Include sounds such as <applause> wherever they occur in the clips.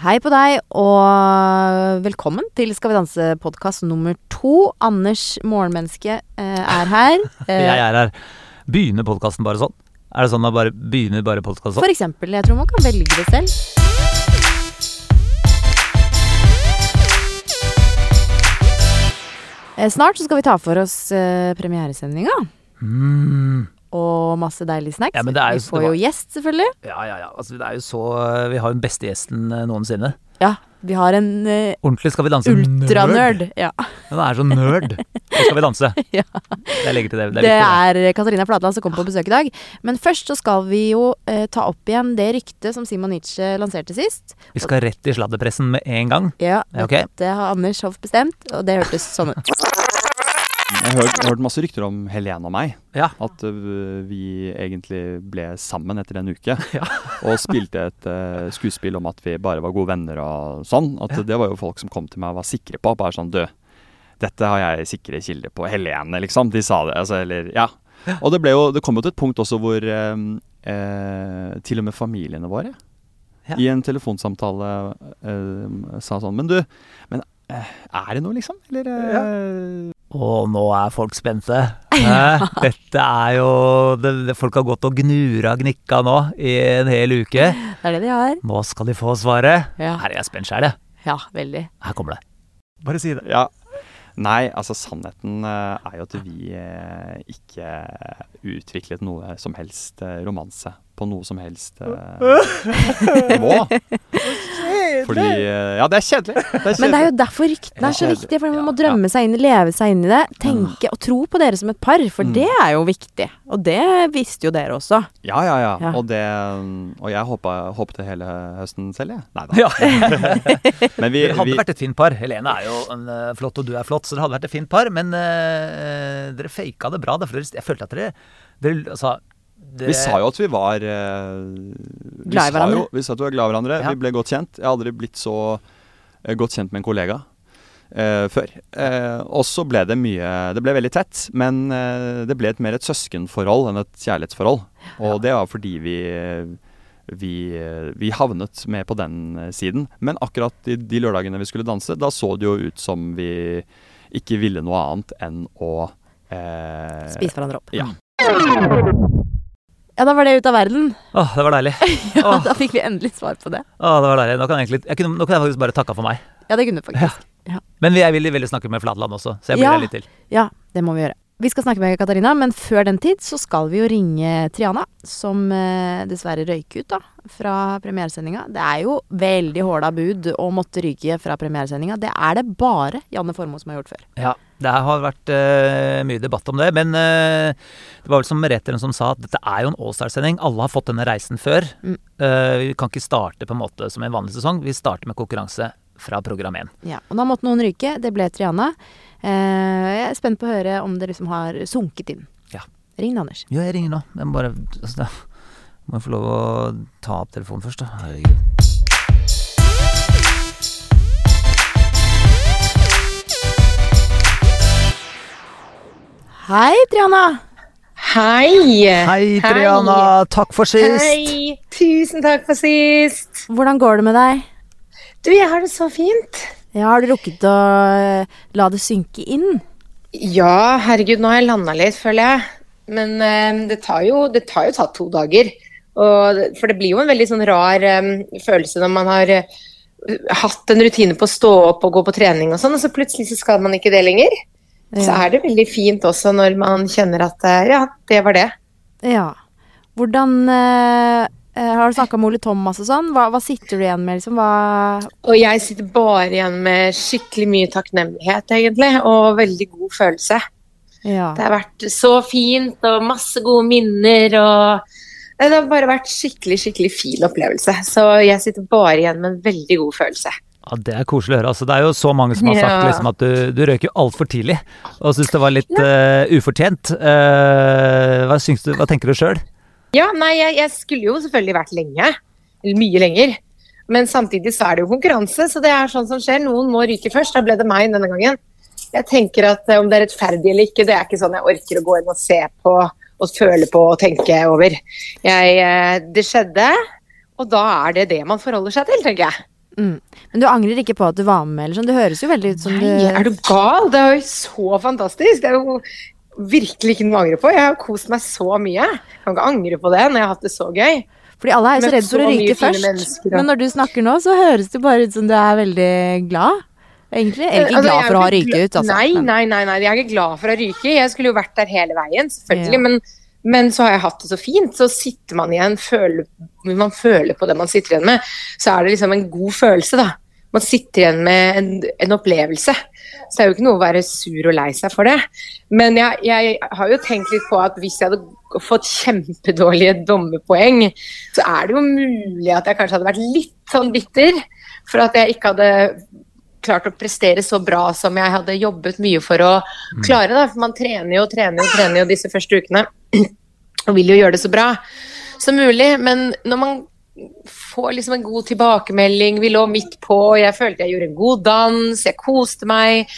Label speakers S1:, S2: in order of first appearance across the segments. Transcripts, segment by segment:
S1: Hei på deg, og velkommen til Skal vi danse podkast nummer to. Anders Morgenmenneske eh, er
S2: <laughs>
S1: her.
S2: Jeg er her. Begynner podkasten bare sånn? Er det sånn at bare begynner bare podkasten sånn?
S1: For eksempel. Jeg tror man kan velge det selv. Eh, Snart så skal vi ta for oss eh, premieresendinga
S2: Mm.
S1: og masse deilige snacks.
S2: Ja, men det er jo
S1: vi
S2: så- det
S1: får
S2: var-
S1: jo gjest, selvfølgelig.
S2: Ja, ja, ja. Altså, det er jo så Vi har jo den beste gjesten eh, noensinne.
S1: Ja, vi har en eh,
S2: Ordentlig Skal vi danse.
S1: ultranerd. Ja.
S2: Hun er <laughs> så nerd. Nå skal vi danse.
S1: Ja.
S2: Jeg legger til det. Det
S1: Det
S2: er,
S1: er Katarina Flatland som kommer på besøk i dag. Men først så skal vi jo eh, ta opp igjen det ryktet som Simon Nietzsche lanserte sist.
S2: viktig, det. Vi skal rett i sladdepressen med en gang.
S1: Ja,
S2: Ja, ok.
S1: Det har Anders Hoff bestemt, og det hørtes sånn ut.
S3: Jeg har hørt, jeg har hørt masse rykter om Helene og meg.
S2: Ja.
S3: At øh, vi egentlig ble sammen etter en uke.
S2: <laughs> Ja.
S3: og spilte et øh, skuespill om at vi bare var gode venner og sånn. At
S2: Ja.
S3: Det var jo folk som kom til meg og var sikre på. Bare sånn Du, dette har jeg sikre kilder på. Helene, liksom. De sa det. Altså, eller Ja. Og det, ble jo, det kom jo til et punkt også hvor øhm, eh, til og med familiene våre
S2: Ja.
S3: i en telefonsamtale øhm, sa sånn Men du, men eh, er det noe, liksom? Eller eh,
S2: Og nå er folk spente. Hæ? Dette er jo det, det, Folk har gått og gnura gnikka nå i en hel uke.
S1: Det er det de har.
S2: Nå skal de få svaret.
S1: Ja,
S2: Her er jeg spent sjæl, jeg.
S1: ja veldig.
S2: Her kommer det. Bare si det.
S3: Ja. Nei, altså sannheten eh, er jo at vi eh, ikke utviklet noe som helst eh, romanse på noe som helst eh, nivå. Fordi eh, Ja, det er kjedelig. Det
S1: Men
S3: er
S1: det er
S3: kjedelig.
S1: jo derfor ryktene er så
S3: Ja.
S1: viktige. For man må
S3: Ja.
S1: drømme seg inn, leve seg inn i det. Tenke og tro på dere som et par, for det er jo viktig. Og det visste jo dere også.
S3: Ja, ja, ja.
S1: Ja.
S3: Og, det, mm, og jeg håpa, håpet det hele høsten selv, jeg. Nei da.
S2: <laughs> Ja.
S3: Men vi,
S2: <laughs> Dere hadde
S3: vi
S2: vært et fint par. Helene er jo en, eh, flott, og du er flott, så det hadde vært et fint par. Men eh, dere faka det bra. da, for dere- jeg følte at dere, dere altså, dere-
S3: Vi sa jo at vi var eh, vi
S1: Glad i
S3: sa
S1: hverandre.
S3: Jo, vi sa at vi var glad i hverandre.
S2: Ja.
S3: Vi ble godt kjent. Jeg har aldri blitt så eh, godt kjent med en kollega eh, før. Eh, og så ble det mye Det ble veldig tett, men eh, det ble et mer et søskenforhold enn et kjærlighetsforhold. Og det var fordi vi vi, vi havnet med på den eh, siden. Men akkurat i de lørdagene vi skulle danse, da så det jo ut som vi ikke ville noe annet enn å eh,
S1: Spise hverandre opp.
S3: Ja.
S1: Ja, da var det ut av verden. <laughs>
S2: Åh, det var deilig.
S1: Ja,
S2: Åh.
S1: da fikk vi endelig svar på det.
S2: Åh, det var deilig. Nå kan jeg, egentlig, jeg kunne, nå kunne jeg faktisk bare takka for meg.
S1: Ja, det kunne du faktisk.
S2: Men jeg ville veldig snakke med Flatland også, så jeg blir
S1: Ja.
S2: der litt til.
S1: Ja, det må vi gjøre. Vi skal snakke med Katarina, men før den tid så skal vi jo ringe Triana, som eh, dessverre røyk ut da, fra premieresendinga. Det er jo veldig håla bud å måtte ryke fra premieresendinga. Det er det bare Janne Formoe som har gjort før.
S2: Ja, det har vært eh, mye debatt om det. Men eh, det var vel som Merete eller noen som sa at dette er jo en Allstar-sending. Alle har fått denne reisen før.
S1: Mm.
S2: Eh, vi kan ikke starte på en måte som en vanlig sesong. Vi starter med konkurranse fra program 1.
S1: Ja, og da måtte noen ryke. Det ble Triana. Eh, jeg er spent på å høre om det liksom har sunket inn.
S2: Ja.
S1: Ring det, Anders.
S2: Ja, jeg ringer nå. Jeg må bare altså, da Må jeg få lov å ta opp telefonen først, da. Herregud.
S1: Hei, Triana!
S4: Hei!
S2: Hei, Triana. Takk for sist.
S4: Hei! Tusen takk for sist.
S1: Hvordan går det med deg?
S4: Du, jeg har det så fint.
S1: Ja, har du rukket å eh, la det synke inn?
S4: Ja, herregud, nå har jeg landa litt, føler jeg. Men eh, det tar jo, det tar jo tatt to dager. Og, det- for det blir jo en veldig sånn rar eh, følelse når man har eh, hatt en rutine på å stå opp og gå på trening og sånn, og så plutselig så skal man ikke det lenger. Så
S1: Ja.
S4: er det veldig fint også når man kjenner at eh, ja, det var det.
S1: Ja. Hvordan eh, eh, Har du snakka med Ole Thomas og sånn? Hva, hva sitter du igjen med, liksom? Hva
S4: Og jeg sitter bare igjen med skikkelig mye takknemlighet, egentlig, og veldig god følelse.
S1: Ja.
S4: Det har vært så fint og masse gode minner og Nei, Det har bare vært skikkelig skikkelig fin opplevelse. Så jeg sitter bare igjen med en veldig god følelse.
S2: Ja, Det er koselig å høre. Altså, det er jo så mange som har sagt
S4: Ja.
S2: liksom, at du, du røyker jo altfor tidlig, og syns det var litt eh, ufortjent. Eh, hva, syns du, hva tenker du sjøl?
S4: Ja, nei, jeg, jeg skulle jo selvfølgelig vært lenge. Eller mye lenger. Men samtidig så er det jo konkurranse, så det er sånn som skjer. Noen må ryke først. Da ble det meg denne gangen. Jeg tenker at eh, om det er rettferdig eller ikke, det er ikke sånn jeg orker å gå inn og se på og føle på og tenke over. Jeg, eh, det skjedde, og da er det det man forholder seg til, tenker jeg.
S1: Mm. Men du angrer ikke på at du var med? Eller sånn. Det høres jo veldig ut som
S4: Nei, er
S1: du
S4: du gal? Det er jo så fantastisk. Det er jo virkelig ikke noe å angre på. Jeg har kost meg så mye. Jeg kan ikke angre på det når jeg har hatt det så gøy.
S1: Fordi alle er jo så
S4: Møtt
S1: redd for
S4: så
S1: å
S4: mye
S1: ryke
S4: fine
S1: først.
S4: mennesker, da.
S1: Men når du snakker nå, så høres det bare ut som du er veldig glad. Egentlig. Eller ikke
S4: Altså, jeg
S1: glad
S4: er
S1: for å ha
S4: ikke
S1: ryket
S4: gla-
S1: ut, altså.
S4: Nei,
S1: Men-
S4: nei, nei, nei, jeg er ikke glad for å ryke. Jeg skulle jo vært der hele veien, selvfølgelig.
S1: Ja.
S4: Men, men så har jeg hatt det så fint. Så sitter man igjen, føler, man føler på det man sitter igjen med. Så er det liksom en god følelse, da. Man sitter igjen med en, en opplevelse. Så det er jo ikke noe å være sur og lei seg for det. Men jeg, jeg har jo tenkt litt på at hvis jeg hadde fått kjempedårlige dommerpoeng, så er det jo mulig at jeg kanskje hadde vært litt sånn bitter for at jeg ikke hadde klart å prestere så bra som jeg hadde jobbet mye for å klare. Da. For man trener jo, trener jo, trener jo disse første ukene. Og vil jo gjøre det så bra som mulig. Men når man får liksom en god tilbakemelding, vi lå midt på, jeg følte jeg gjorde en god dans, jeg koste meg.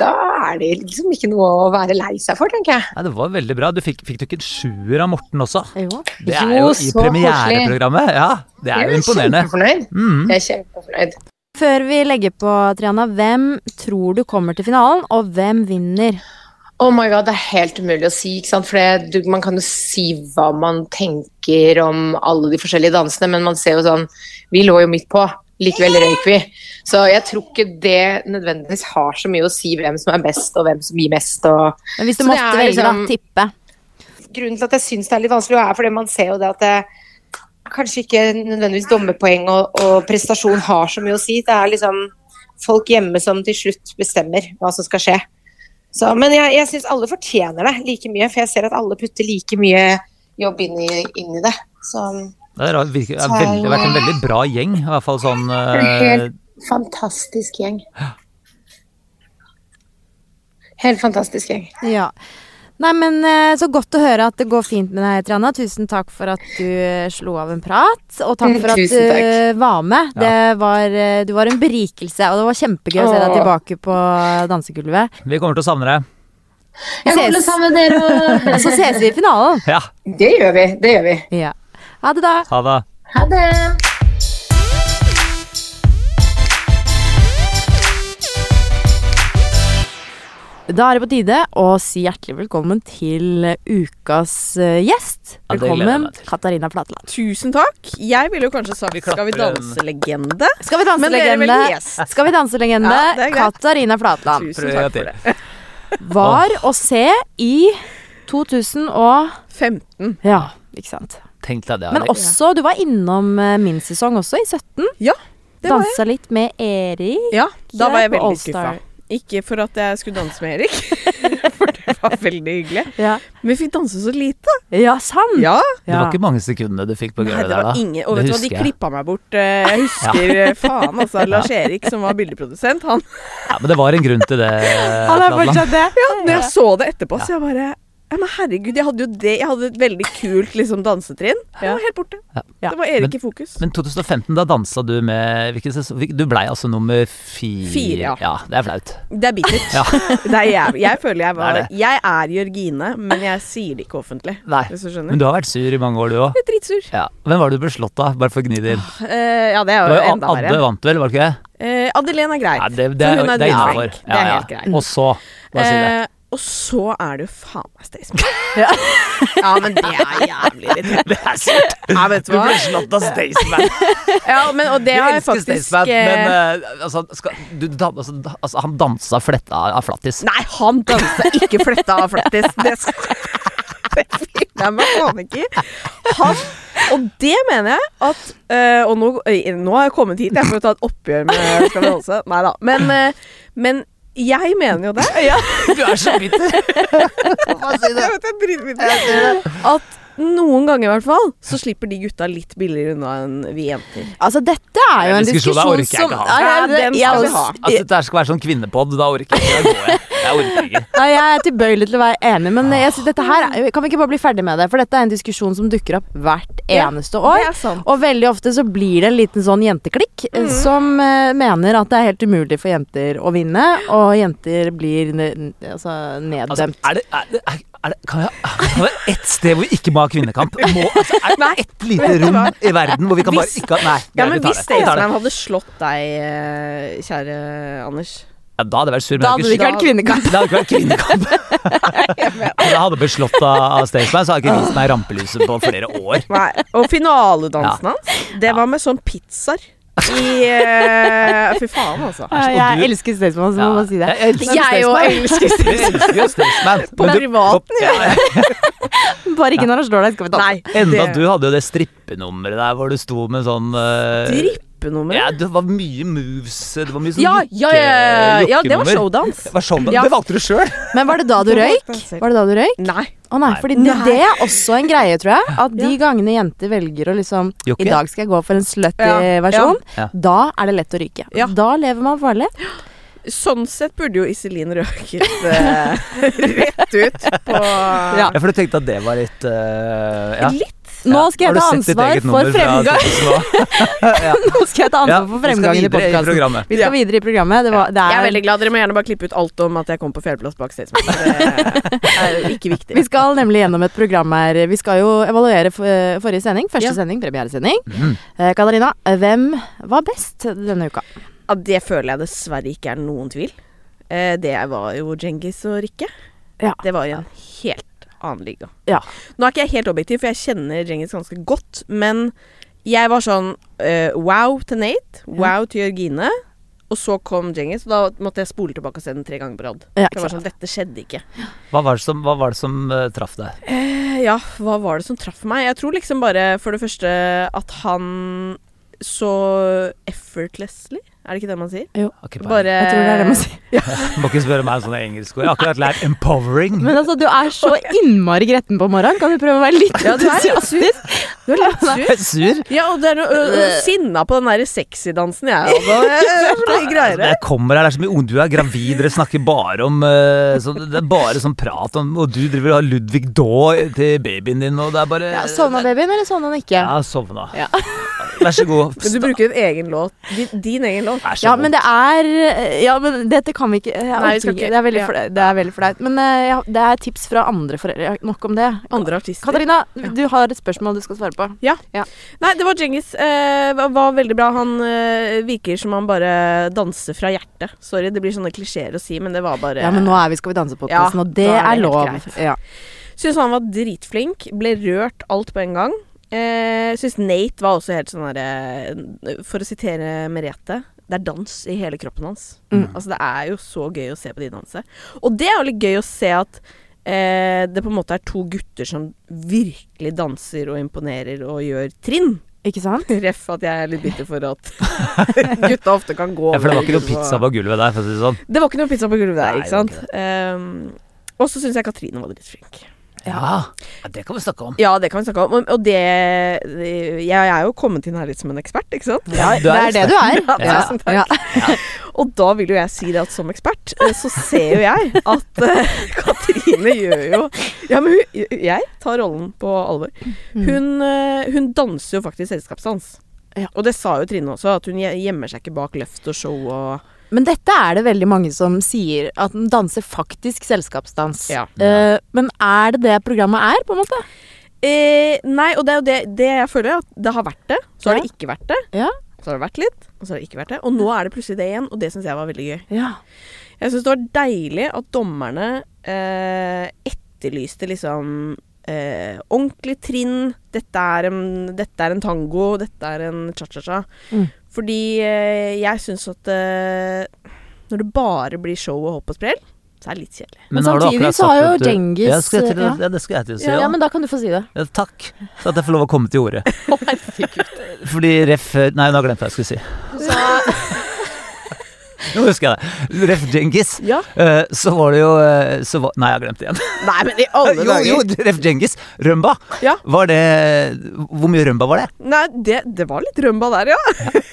S4: Da er det liksom ikke noe å være lei seg for, tenker jeg.
S2: Nei, det var veldig bra. Du fikk, fikk du ikke en sjuer av Morten også?
S1: Jo.
S2: Det er jo
S4: Jo,
S2: i
S4: så
S2: premiereprogrammet. Ja, det er jo imponerende.
S4: kjempefornøyd.
S2: Mm.
S4: Jeg er kjempefornøyd.
S1: Før vi legger på, Triana, hvem tror du kommer til finalen, og hvem vinner?
S4: Oh my god, det er helt umulig å si, ikke sant? for det, du, man kan jo si hva man tenker om alle de forskjellige dansene, men man ser jo sånn Vi lå jo midt på, likevel røyk vi. Så jeg tror ikke det nødvendigvis har så mye å si hvem som er best, og hvem som gir mest, og
S1: Men hvis du
S4: Så det
S1: måtte
S4: er
S1: velge, da,
S4: liksom-
S1: tippe.
S4: grunnen til at jeg syns det er litt vanskelig, er fordi man ser jo det at det, kanskje ikke nødvendigvis dommerpoeng og, og prestasjon har så mye å si. Det er liksom folk hjemme som til slutt bestemmer hva som skal skje. Så, men jeg, jeg syns alle fortjener det like mye, for jeg ser at alle putter like mye jobb inn i, inn i det. Så
S2: Det har virket- det har veldig- vært en veldig bra gjeng, i hvert fall sånn
S4: en
S2: eh,
S4: helt fantastisk gjeng. Helt fantastisk gjeng.
S1: Ja. Nei, men eh, Så godt å høre at det går fint med deg, Triana. Tusen takk for at du eh, slo av en prat. Og takk for at
S4: Tusen
S1: du eh, var med.
S2: Ja.
S1: Det var, eh, du var en berikelse, og det var kjempegøy å se deg
S4: Åh.
S1: tilbake på dansegulvet.
S2: Vi kommer til å savne deg.
S1: Vi
S4: Jeg
S1: ses.
S4: holder sammen med dere.
S1: Og så ses vi i finalen.
S2: Ja,
S4: og- Det gjør vi. Det gjør vi.
S1: Ja. Ha det, da.
S2: ha det.
S4: Ha det.
S1: Da er det på tide å si hjertelig velkommen til ukas eh, gjest.
S2: Ja, det gleder jeg
S1: Velkommen,
S2: meg til.
S1: Katarina Flatland.
S5: Tusen takk. Jeg ville jo kanskje sagt
S2: Vi klapper
S5: 'Skal vi
S2: en-
S5: danse-legende'?
S1: Skal vi
S5: Men dere er
S1: danselegende?
S5: vel gjest.
S1: Skal vi danselegende?
S5: Ja, det er greit.
S1: Katarina Flatland
S5: Tusen
S2: Prøv
S5: takk
S2: til.
S5: for det.
S1: var å se i 2000 og
S5: 15.
S1: Ja, ikke sant.
S2: Tenk deg det.
S1: Men
S2: Ari.
S1: også, du var innom eh, min sesong også, i 17.
S5: Ja, det var jeg.
S1: Dansa litt med Erik.
S5: Ja, da var jeg
S1: på
S5: veldig
S1: All-Star.
S5: skuffa. Ikke for at jeg skulle danse med Erik, <laughs> for det var veldig hyggelig.
S1: Ja,
S5: Men vi fikk danse så lite.
S1: ja sant!
S5: Ja.
S2: Det var ikke mange sekundene du fikk på
S5: Nei,
S2: gulvet
S5: det
S2: der, da.
S5: var ingen, og vet du hva, de
S2: husker jeg.
S5: klippa meg bort. eh, Jeg husker eh, faen, altså. Lars Erik, som var bildeprodusent, han
S2: Ja, men det var en grunn til det.
S1: Han er
S2: Flatland.
S1: fortsatt det.
S5: <laughs> Ja, når jeg så det etterpå, så jeg bare ja, men herregud, jeg hadde jo det Jeg hadde et veldig kult liksom, dansetrinn. Det var helt borte.
S1: Ja.
S5: Det var Erik i fokus.
S2: Men 2015, da dansa du med hvilken sesong? hvil- Du blei altså nummer fire.
S5: Fire, ja. Mm.
S2: Det er flaut.
S5: Det er bittert.
S2: Ja.
S5: <laughs> Det er jæv- jeg føler jeg var
S2: Det er det.
S5: Jeg er Jørgine, men jeg sier det ikke offentlig.
S2: Nei.
S5: Hvis du skjønner.
S2: Men du har vært sur i mange år, du òg.
S5: Jeg er dritsur.
S2: Ja. Hvem var det du ble slått av? Bare for å gni det inn.
S5: Eh, ja, det
S2: Det
S5: er jo
S2: var jo
S5: enda
S2: Anne
S5: verre.
S2: vant vel, var det ikke det?
S5: Eh, Adelén er greit.
S2: Ja, det, det,
S5: for
S2: er-
S5: hun er
S2: det er
S5: dritflink.
S2: innafor.
S5: Det er helt greit.
S2: Og så Bare si det.
S5: Eh, og så er det jo faen meg Staysman. <laughs> ja, men det er jævlig irriterende.
S2: Det er surt!
S5: Ja, vet du hva.
S2: slått av Staysman.
S5: <laughs> Ja, men, og det
S2: Jeg
S5: har jeg
S2: elsker
S5: faktisk
S2: Staysman, men
S5: eh,
S2: eh, altså, skal, du, dan- altså, da- altså Han dansa fletta av flattis.
S5: Nei, han dansa ikke fletta av flattis. Det, sk- det finner jeg meg faen ikke i. Han Og det mener jeg at eh, Og nå, øy, nå har jeg kommet hit, jeg får jo ta et oppgjør med Skal vi danse. Nei da. Men, eh, men jeg mener
S2: <laughs>
S5: jo det.
S2: Du er så bitter! Bare si det.
S5: <laughs> Jeg vet, jeg bryr meg ikke. At noen ganger i hvert fall så slipper de gutta litt billigere unna enn vi jenter.
S1: Altså, dette er jo
S2: Den
S1: en
S2: diskusjonen
S1: diskusjon
S2: orker jeg
S1: som
S2: ikke ha.
S1: Nei,
S5: Ja,
S1: det-
S5: den
S1: jeg-
S5: skal vi ha.
S2: Altså, dette her skal være sånn kvinnepodd, da orker jeg ikke å gå. Jeg jeg orker ikke.
S1: Nei, jeg er tilbøyelig til å være enig, men jeg synes dette her er- kan vi ikke bare bli ferdig med det? For dette er en diskusjon som dukker opp hvert
S5: Ja,
S1: eneste år.
S5: det er sant.
S1: Og veldig ofte så blir det en liten sånn jenteklikk eh, som eh, mener at det er helt umulig for jenter å vinne, og jenter blir ne n- altså,
S2: Altså,
S1: nedstemt.
S2: er det, er det, er, er det, kan, jeg, kan det være ett sted hvor vi ikke må ha kvinnekamp? Vi Må, altså, er det ett lite rom i verden hvor vi kan bare
S5: Hvis-
S2: ikke ha Nei,
S5: Ja,
S2: greit,
S5: men
S2: vi tar
S5: hvis sånn
S2: det. Vi tar det.
S5: Staysman hadde slått deg, eh, kjære Anders
S2: Ja, da hadde det vært sur. men
S1: Da
S2: jeg
S1: hadde det
S2: ikke-
S1: ikke vært kvinnekamp. <laughs>
S2: <laughs> Det hadde ikke vært kvinnekamp. Om jeg hadde blitt slått av av Staysman, så hadde jeg ikke vist meg i rampelyset på flere år.
S5: Nei. Og finaledansen hans, det var med sånn pizzaer i eh, Fy faen, <laughs> altså.
S1: Ja,
S2: og
S1: jeg
S2: du-
S1: elsker Staysman, så må man si det.
S2: Jeg elsker
S1: Jeg
S2: Staysman.
S1: òg
S5: <laughs>
S1: elsker Staysman.
S2: Jeg elsker jo Staysman.
S5: På
S2: men du-
S5: privaten,
S2: på- ja.
S1: Bare ikke når han slår deg, skal vi ta
S5: Nei,
S2: Enda
S5: det-
S2: du hadde jo det strippenummeret der hvor du sto med sånn eh,
S5: Strippenummeret?
S2: Ja, det var mye moves. Det var mye sånn
S5: Ja, ja, ja, ja, ja, det var
S2: jokkenummer.
S5: showdans.
S2: Det var showdown.
S5: Ja.
S2: Det valgte du sjøl!
S1: Men var det da du
S5: Det var
S1: røyk?
S5: faktisk-
S1: Var det da du røyk?
S5: Nei.
S1: Å nei, fordi det,
S5: Nei.
S1: det er også en greie, tror jeg. At de gangene jenter velger å liksom
S2: Jokke?
S1: I dag skal jeg gå for en slutty eh,
S5: Ja,
S1: versjon.
S2: ja. Ja.
S1: Da er det lett å ryke.
S5: Ja.
S1: Da lever man farlig.
S5: Sånn sett burde jo Iselin røket eh, <laughs> rett ut på
S1: Ja.
S2: Ja, for du tenkte at det var litt eh, ja.
S5: Litt.
S1: Nå skal jeg ta
S2: Har du sett ditt
S1: ansvar
S2: eget
S1: for
S2: nummer fra
S1: fremgang.
S2: 2000
S1: <laughs> Nå skal jeg ta
S2: og- <laughs> Ja,
S1: ansvar for fremgangen i
S2: Vi skal videre i
S1: podkasten.
S2: programmet.
S1: Vi skal videre i programmet. Det, var, det
S5: Jeg er
S1: er,
S5: veldig glad. Dere må gjerne bare klippe ut alt om at jeg kom på fjerdeplass bak Staysman. Det er jo ikke <laughs> viktig.
S1: vi skal nemlig gjennom et program her. Vi skal jo evaluere for, forrige sending. Første sending, premieresending.
S2: Mm.
S1: Eh, Katarina, hvem var best denne uka?
S5: Ja, det føler jeg dessverre ikke er noen tvil. Eh, det var jo Djengis og Rikke.
S1: Ja.
S5: Det var i en helt annen liga.
S1: Ja.
S5: Nå er ikke jeg helt objektiv, for jeg kjenner Djengis ganske godt. Men jeg var sånn eh, wow til Nate, wow til Jørgine. Og så kom Djengis, og da måtte jeg spole tilbake og se den tre ganger på rad.
S1: Ja,
S5: For jeg
S1: ikke
S5: var sånn, Dette skjedde ikke.
S2: Hva var det som, hva var det som eh, traff deg?
S5: Eh, Ja, hva var det som traff meg? Jeg tror liksom bare for det første at han så effortlessly Er det ikke det man sier?
S2: Har ikke peiling.
S5: Bare
S1: Jeg tror det er det man sier.
S2: Må ikke spørre meg om sånne engelskord. Jeg har akkurat lært 'empowering'.
S1: Men altså, du er så innmari gretten på morgenen. Kan du prøve å være litt
S5: Ja, du er litt
S1: entusiastisk? Du er litt
S2: Jeg er sur.
S5: Ja, og det er noe ø, ø,
S1: <laughs>
S5: sinna på den derre sexy-dansen jeg altså. hadde. Jeg tror jeg greier
S2: Når
S5: det.
S2: jeg kommer her, det er så mye ung, du er gravid, dere snakker bare om eh, sånn- Det er bare sånn prat om Og du driver og har Ludvig Daa til babyen din, og det er bare
S1: Ja, sovna babyen, eller sovna han ikke?
S2: Ja, sovna. Vær så god.
S5: <laughs> Men du bruker en egen låt. Din, din egen låt.
S2: Vær så
S1: Ja,
S2: god.
S1: men det er Ja, men dette kan vi ikke jeg
S5: Nei, vi
S1: orker
S5: skal
S1: ikke.
S5: ikke.
S1: Det er veldig
S5: Ja.
S1: flau- det er veldig flaut. Men eh, ja, det er tips fra andre foreldre. Ja, Nok om det.
S5: Andre artister.
S1: Katarina, du har et spørsmål du skal svare på.
S5: Nei, det var Djengis. eh, var- var veldig bra. Han eh, virker som han bare danser fra hjertet. Sorry, det blir sånne klisjeer å si, men det var bare
S1: Ja, men nå er vi Skal vi danse-podkasten,
S5: Ja,
S1: og det er,
S5: da er det helt
S1: lov.
S5: greit.
S1: Ja.
S5: Syns han var dritflink. Ble rørt alt på en gang. Eh, Syns Nate var også helt sånn derre For å sitere Merete det er dans i hele kroppen hans. Altså Det er jo så gøy å se på de danse. Og det er jo litt gøy å se at eh, det på en måte er to gutter som virkelig danser og imponerer og gjør trinn. <laughs>
S1: Ikke sant?
S5: Ref at jeg er litt bitter for at gutta ofte kan gå
S2: ja, for det var ikke noe
S5: gulvet og-
S2: pizza på gulvet der, for å si det sånn.
S5: Det var ikke noe pizza på gulvet der,
S2: Nei,
S5: ikke
S2: det var
S5: sant. Ehm, og så syns jeg Katrine var dritflink.
S2: Ja. ja, det kan vi snakke om.
S5: Ja, det kan vi snakke om. Og det Jeg er jo kommet inn her litt som en ekspert, ikke sant?
S2: Ja,
S1: Det er det du er.
S5: <laughs> Ja, tusen takk.
S1: Ja.
S5: <laughs> Og da vil jo jeg si det at som ekspert, eh, så ser jo jeg at eh, <laughs> Katrine gjør jo Ja, men hun, jeg tar rollen på alvor.
S1: Mm.
S5: Hun, eh, hun danser jo faktisk selskapsdans.
S1: Ja.
S5: Og det sa jo Trine også, at hun gje- gjemmer seg ikke bak løft og show og
S1: Men dette er det veldig mange som sier, at den danser faktisk selskapsdans.
S5: Ja.
S1: Eh, men er det det programmet er, på en måte?
S5: eh, Nei, og det er jo det, det jeg føler, at det har vært det. Så har
S1: Ja.
S5: det ikke vært det.
S1: Ja.
S5: Så har det vært litt, og så har det ikke vært det. Og nå er det plutselig det igjen, og det syns jeg var veldig gøy.
S1: ja.
S5: Jeg syns det var deilig at dommerne eh, etterlyste liksom eh, ordentlig trinn. Dette er, en, dette er en tango, dette er en cha-cha-cha.
S1: Mm.
S5: Fordi eh, jeg syns at eh, når det bare blir show og hopp og sprell, så er det litt kjedelig.
S1: Men
S2: har du
S1: samtidig
S2: akkurat
S1: så har
S2: sagt
S1: jo
S2: at du-
S1: Djengis-
S2: ja, skal jeg til,
S1: ja.
S2: ja, det skal jeg til å si.
S1: ja,
S2: Ja,
S1: men da kan du få si <laughs> det.
S2: ja, takk for at jeg får lov å komme til ordet. Fordi ref Nei, nå glemte jeg hva jeg skulle si. <laughs> Nå husker jeg det. Ref. Djengis.
S5: Ja.
S2: Eh, så var det jo eh, så var, Nei, jeg har glemt det igjen.
S5: Nei, men i alle
S2: jo,
S5: dager!
S2: <laughs> jo, Ref. Djengis. Rømba.
S5: Ja.
S2: Var det Hvor mye rømba var det?
S5: Nei, det, det var litt rømba der, ja.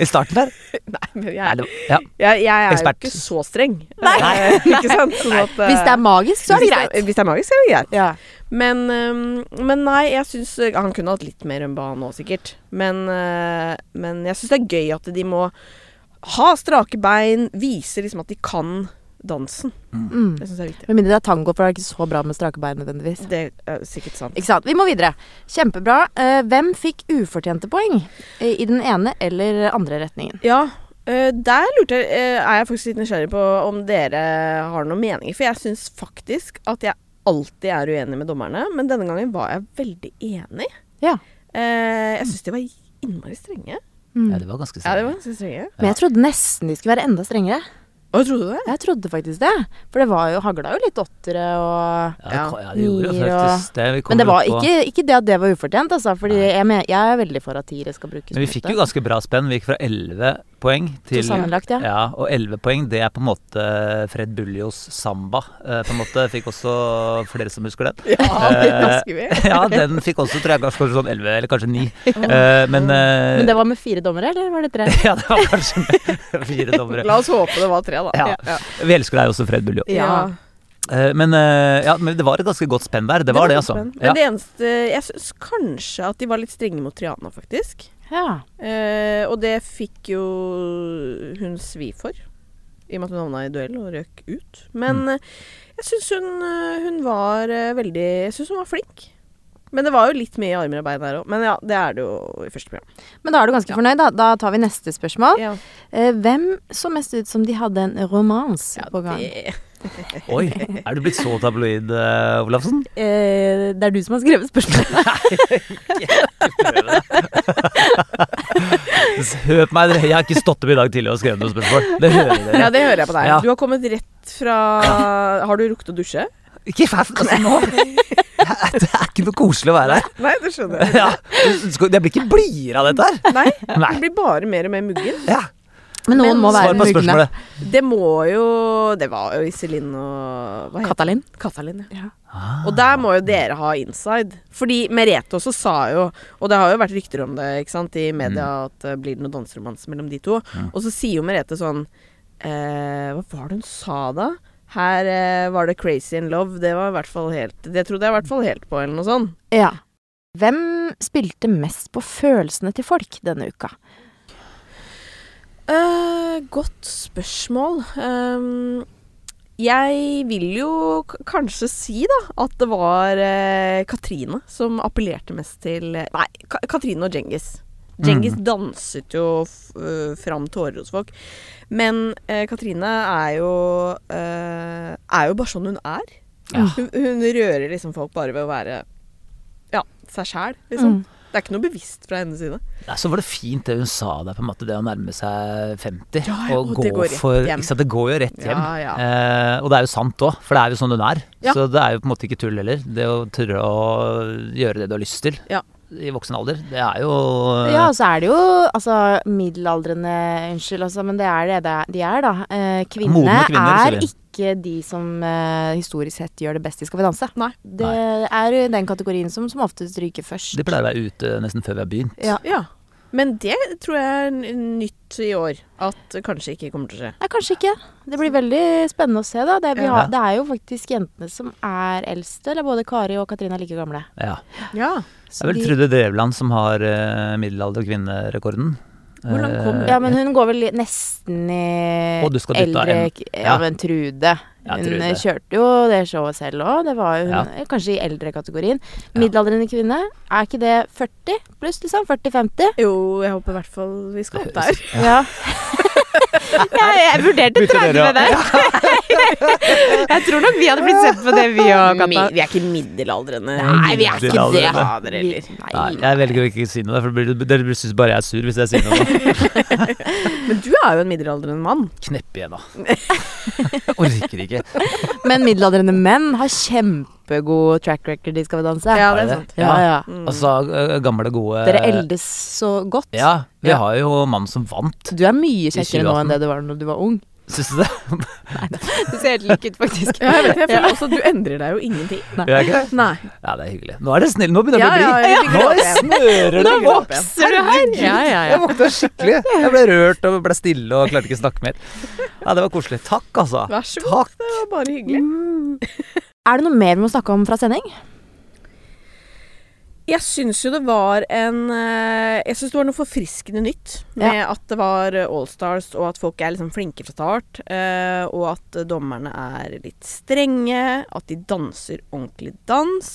S2: I starten der?
S5: <laughs> Nei, men
S2: Nei,
S5: jeg,
S2: det, ja.
S5: jeg, jeg er
S2: Ekspert.
S5: jo ikke så streng.
S1: Nei.
S5: Eh, ikke sant? Sånn at, eh,
S1: Hvis det er magisk, så er det greit.
S5: Hvis det er magisk, er det greit.
S1: Ja.
S5: Men, øhm, men nei, jeg syns eh, Han kunne hatt litt mer rømba nå, sikkert. Men, øh, men jeg syns det er gøy at de må ha strake bein, vise liksom at de kan dansen.
S1: Mm.
S5: Det syns jeg er viktig.
S1: Med mindre det er tango, for det er ikke så bra med strake bein nødvendigvis.
S5: Det er sikkert sant.
S1: Ikke sant. Vi må videre. Kjempebra. Eh, hvem fikk ufortjente poeng eh, i den ene eller andre retningen?
S5: Ja, øh, der lurte jeg øh, Er jeg faktisk litt nysgjerrig på om dere har noen meninger. For jeg syns faktisk at jeg alltid er uenig med dommerne, men denne gangen var jeg veldig enig.
S1: Ja.
S5: Eh, jeg syns de var innmari strenge.
S1: Mm.
S2: ja, det var ganske
S5: Ja, de var
S2: sant.
S5: ganske strenge.
S1: Men jeg trodde nesten de skulle være enda strengere.
S5: Å, trodde du det?
S1: Jeg trodde faktisk det. For det var jo, hagla jo litt åttere og
S2: Ja, det- ja, det gjorde jo
S1: Gir og-
S2: faktisk det. Vi kommer
S1: Men det var
S2: opp på-
S1: ikke, ikke det at det var ufortjent, altså. Fordi jeg, men, jeg er veldig for at tiere skal brukes.
S2: Men vi
S1: på
S2: fikk
S1: dette.
S2: jo ganske bra spenn. Vi gikk fra 11 poeng til
S1: sammenlagt, ja.
S2: Og 11 poeng, det er på en måte Fred Buljos samba. eh, På en måte Fikk også flere som husker den.
S5: Ja, det husker vi.
S2: Eh, <laughs> ja, den fikk også, tror jeg, kanskje sånn 11 eller kanskje 9. Eh, men eh,
S1: Men det var med fire dommere, eller var det tre?
S2: <laughs> Ja, det var kanskje med <laughs> fire dommere.
S5: La oss håpe det var tre, da.
S2: <laughs> Ja. Vi elsker deg også, Fred Buljo.
S1: Ja.
S2: Eh, men, eh, ja, men det var et ganske godt spenn der. Det var det, altså.
S5: Men
S2: Ja.
S5: det eneste Jeg syns kanskje at de var litt strenge mot Triana, faktisk.
S1: Ja.
S5: Eh, og det fikk jo hun svi for. I og med at hun havna i duell og røk ut. Men
S2: Mm.
S5: eh, jeg syns hun, eh, hun var eh, veldig Jeg syns hun var flink. Men det var jo litt mye armer og bein der òg. Men ja, det er det jo i første program.
S1: Men da er du ganske fornøyd, da. Da tar vi neste spørsmål.
S5: Ja,
S1: Eh, hvem så mest ut som de hadde en romans på gang? Det...
S5: det,
S2: Oi, er du blitt så tabloid, eh, Olafsen?
S1: Eh, det er du som har skrevet spørsmålet.
S2: Hør på meg, dere. jeg har ikke stått opp i dag tidlig og skrevet noe spørsmål. Det hører dere.
S5: ja, det hører jeg på deg.
S2: Ja.
S5: Du har kommet rett fra Har du rukket å dusje?
S2: Ikke fæl, altså nå Det er ikke noe koselig å være her
S5: Nei, det skjønner jeg.
S2: ja. skal- Jeg blir ikke blidere av dette her
S5: Nei,
S2: Nei.
S5: Du blir bare mer og mer muggen.
S2: ja.
S1: <laughs> Men noen
S5: Men
S1: må
S2: Svar
S1: være
S2: på
S1: mugne.
S2: spørsmålet
S5: Det må jo Det var jo Iselin og hva heter
S1: Katalin.
S5: det? Katalin, ja.
S1: Ja.
S2: Ah.
S5: Og der må jo dere ha inside. Fordi Merete også sa jo Og det har jo vært rykter om det ikke sant, i media at eh, blir det noe danseromans mellom de to. Og så sier jo Merete sånn eh, Hva var det hun sa da? Her eh, var det crazy in love. Det var i hvert fall helt Det trodde jeg i hvert fall helt på, eller noe sånt.
S1: Ja. Hvem spilte mest på følelsene til folk denne uka?
S5: Eh, godt spørsmål. Ehm, jeg vil jo k kanskje si da at det var eh, Katrine som appellerte mest til Nei, Ka Katrine og Djengis. Djengis danset jo f øh, fram tårer hos folk. Men eh, Katrine er jo eh, Er jo bare sånn hun er. Hun, hun rører liksom folk bare ved å være ja, seg sjæl, liksom. Det er ikke noe bevisst fra hennes side.
S2: ja, Så var det fint det hun sa der på en måte Det å nærme seg 50
S5: Ja, ja,
S2: Og
S5: og det
S2: gå
S5: går rett
S2: for
S5: hjem.
S2: ikke sant, Det går jo rett hjem
S5: Ja, ja.
S2: Eh, Og det er jo sant også For det er jo sånn hun er
S5: Ja.
S2: Så det er jo på en måte ikke tull heller Det å tørre å gjøre det du har lyst til
S5: Ja.
S2: I voksen alder Det er jo
S1: Ja,
S2: Eh.
S1: og så er det jo altså, middelaldrende Unnskyld, altså, men det er det det- de er, da. Eh, kvinnene
S2: Modne kvinner, sier
S1: er
S2: vi.
S1: ikke de som eh, historisk sett gjør det best i Skal vi danse.
S5: Nei.
S1: Det er den kategorien som som oftest ryker først.
S2: De pleier å være ute nesten før vi har begynt
S1: Ja.
S5: Ja. Men det tror jeg er n- nytt i år. At det kanskje ikke kommer til å skje.
S1: Nei, kanskje ikke. Det blir veldig spennende å se, da. Det, vi
S5: Ja.
S1: har, det er jo faktisk jentene som er eldst, eller både Kari og Katrine er like gamle.
S2: Ja
S5: Ja.
S1: Så
S2: Det er vel
S1: de-
S2: Trude Drevland som har eh, middelalder- og kvinnerekorden.
S5: Hvor langt kom hun?
S1: Ja, men hun går vel i- nesten i
S2: Eh, Å, du skal dytte av en.
S1: k- Ja,
S2: Ja.
S1: men Trude.
S2: Ja,
S1: Hun
S2: Trude.
S1: eh, kjørte jo det showet selv òg. Det var jo hun,
S2: Ja.
S1: eh, kanskje i eldrekategorien. Middelaldrende kvinne, er ikke det 40 pluss, liksom? 40-50?
S5: Jo, jeg håper i hvert fall vi skal opp der.
S1: Ja. jeg, jeg vurderte 30 der. jeg tror nok vi hadde blitt sett på det, vi òg,
S5: Mi,
S1: Katta.
S5: vi er ikke middelaldrende.
S1: Nei, vi er ikke det.
S5: Ja, dere heller.
S2: Nei, jeg velger å ikke si noe, for dere- dere syns bare jeg er sur hvis jeg sier noe.
S5: <laughs>
S2: nå.
S5: Men du er jo en middelaldrende mann.
S2: Knepp igjen,
S5: <laughs>
S2: da. Orker ikke.
S1: Men middelaldrende menn har kjempegod track record i Skal vi danse.
S5: Ja,
S2: Er
S5: Mm. det er
S2: det?
S5: sant.
S1: Ja, ja.
S2: Altså, eh, gamle, gode
S1: Dere eldes så godt.
S2: Ja. Vi
S1: Ja.
S2: har jo mannen som vant.
S1: Du er mye kjekkere nå
S2: 2018.
S1: enn det du var når du var ung. <laughs>
S2: Syns du det?
S5: <laughs>
S1: Du ser helt lik ut, faktisk.
S5: Ja, jeg vet, jeg føler også at du endrer deg jo ingenting.
S2: Gjør jeg ikke det?
S5: Nei.
S2: Ja, det er hyggelig. Nå er det snill. Nå begynner jeg å bli blid. Nå
S5: jeg fikk det opp igjen.
S2: smører det
S5: Nå
S2: på!
S5: vokser
S1: Ser du her? Ja, ja,
S2: Jeg våkna skikkelig. Jeg ble rørt og ble stille og klarte ikke å snakke mer. Ja, det var koselig. Takk, altså.
S5: Vær så god.
S2: Takk.
S5: Det var bare hyggelig.
S1: Er det noe mer vi må snakke om fra sending?
S5: Jeg syns jo det var en eh, Jeg syns det var noe forfriskende nytt med at det var eh, Allstars, og at folk er liksom flinke fra start. eh, Og at eh, dommerne er litt strenge, at de danser ordentlig dans.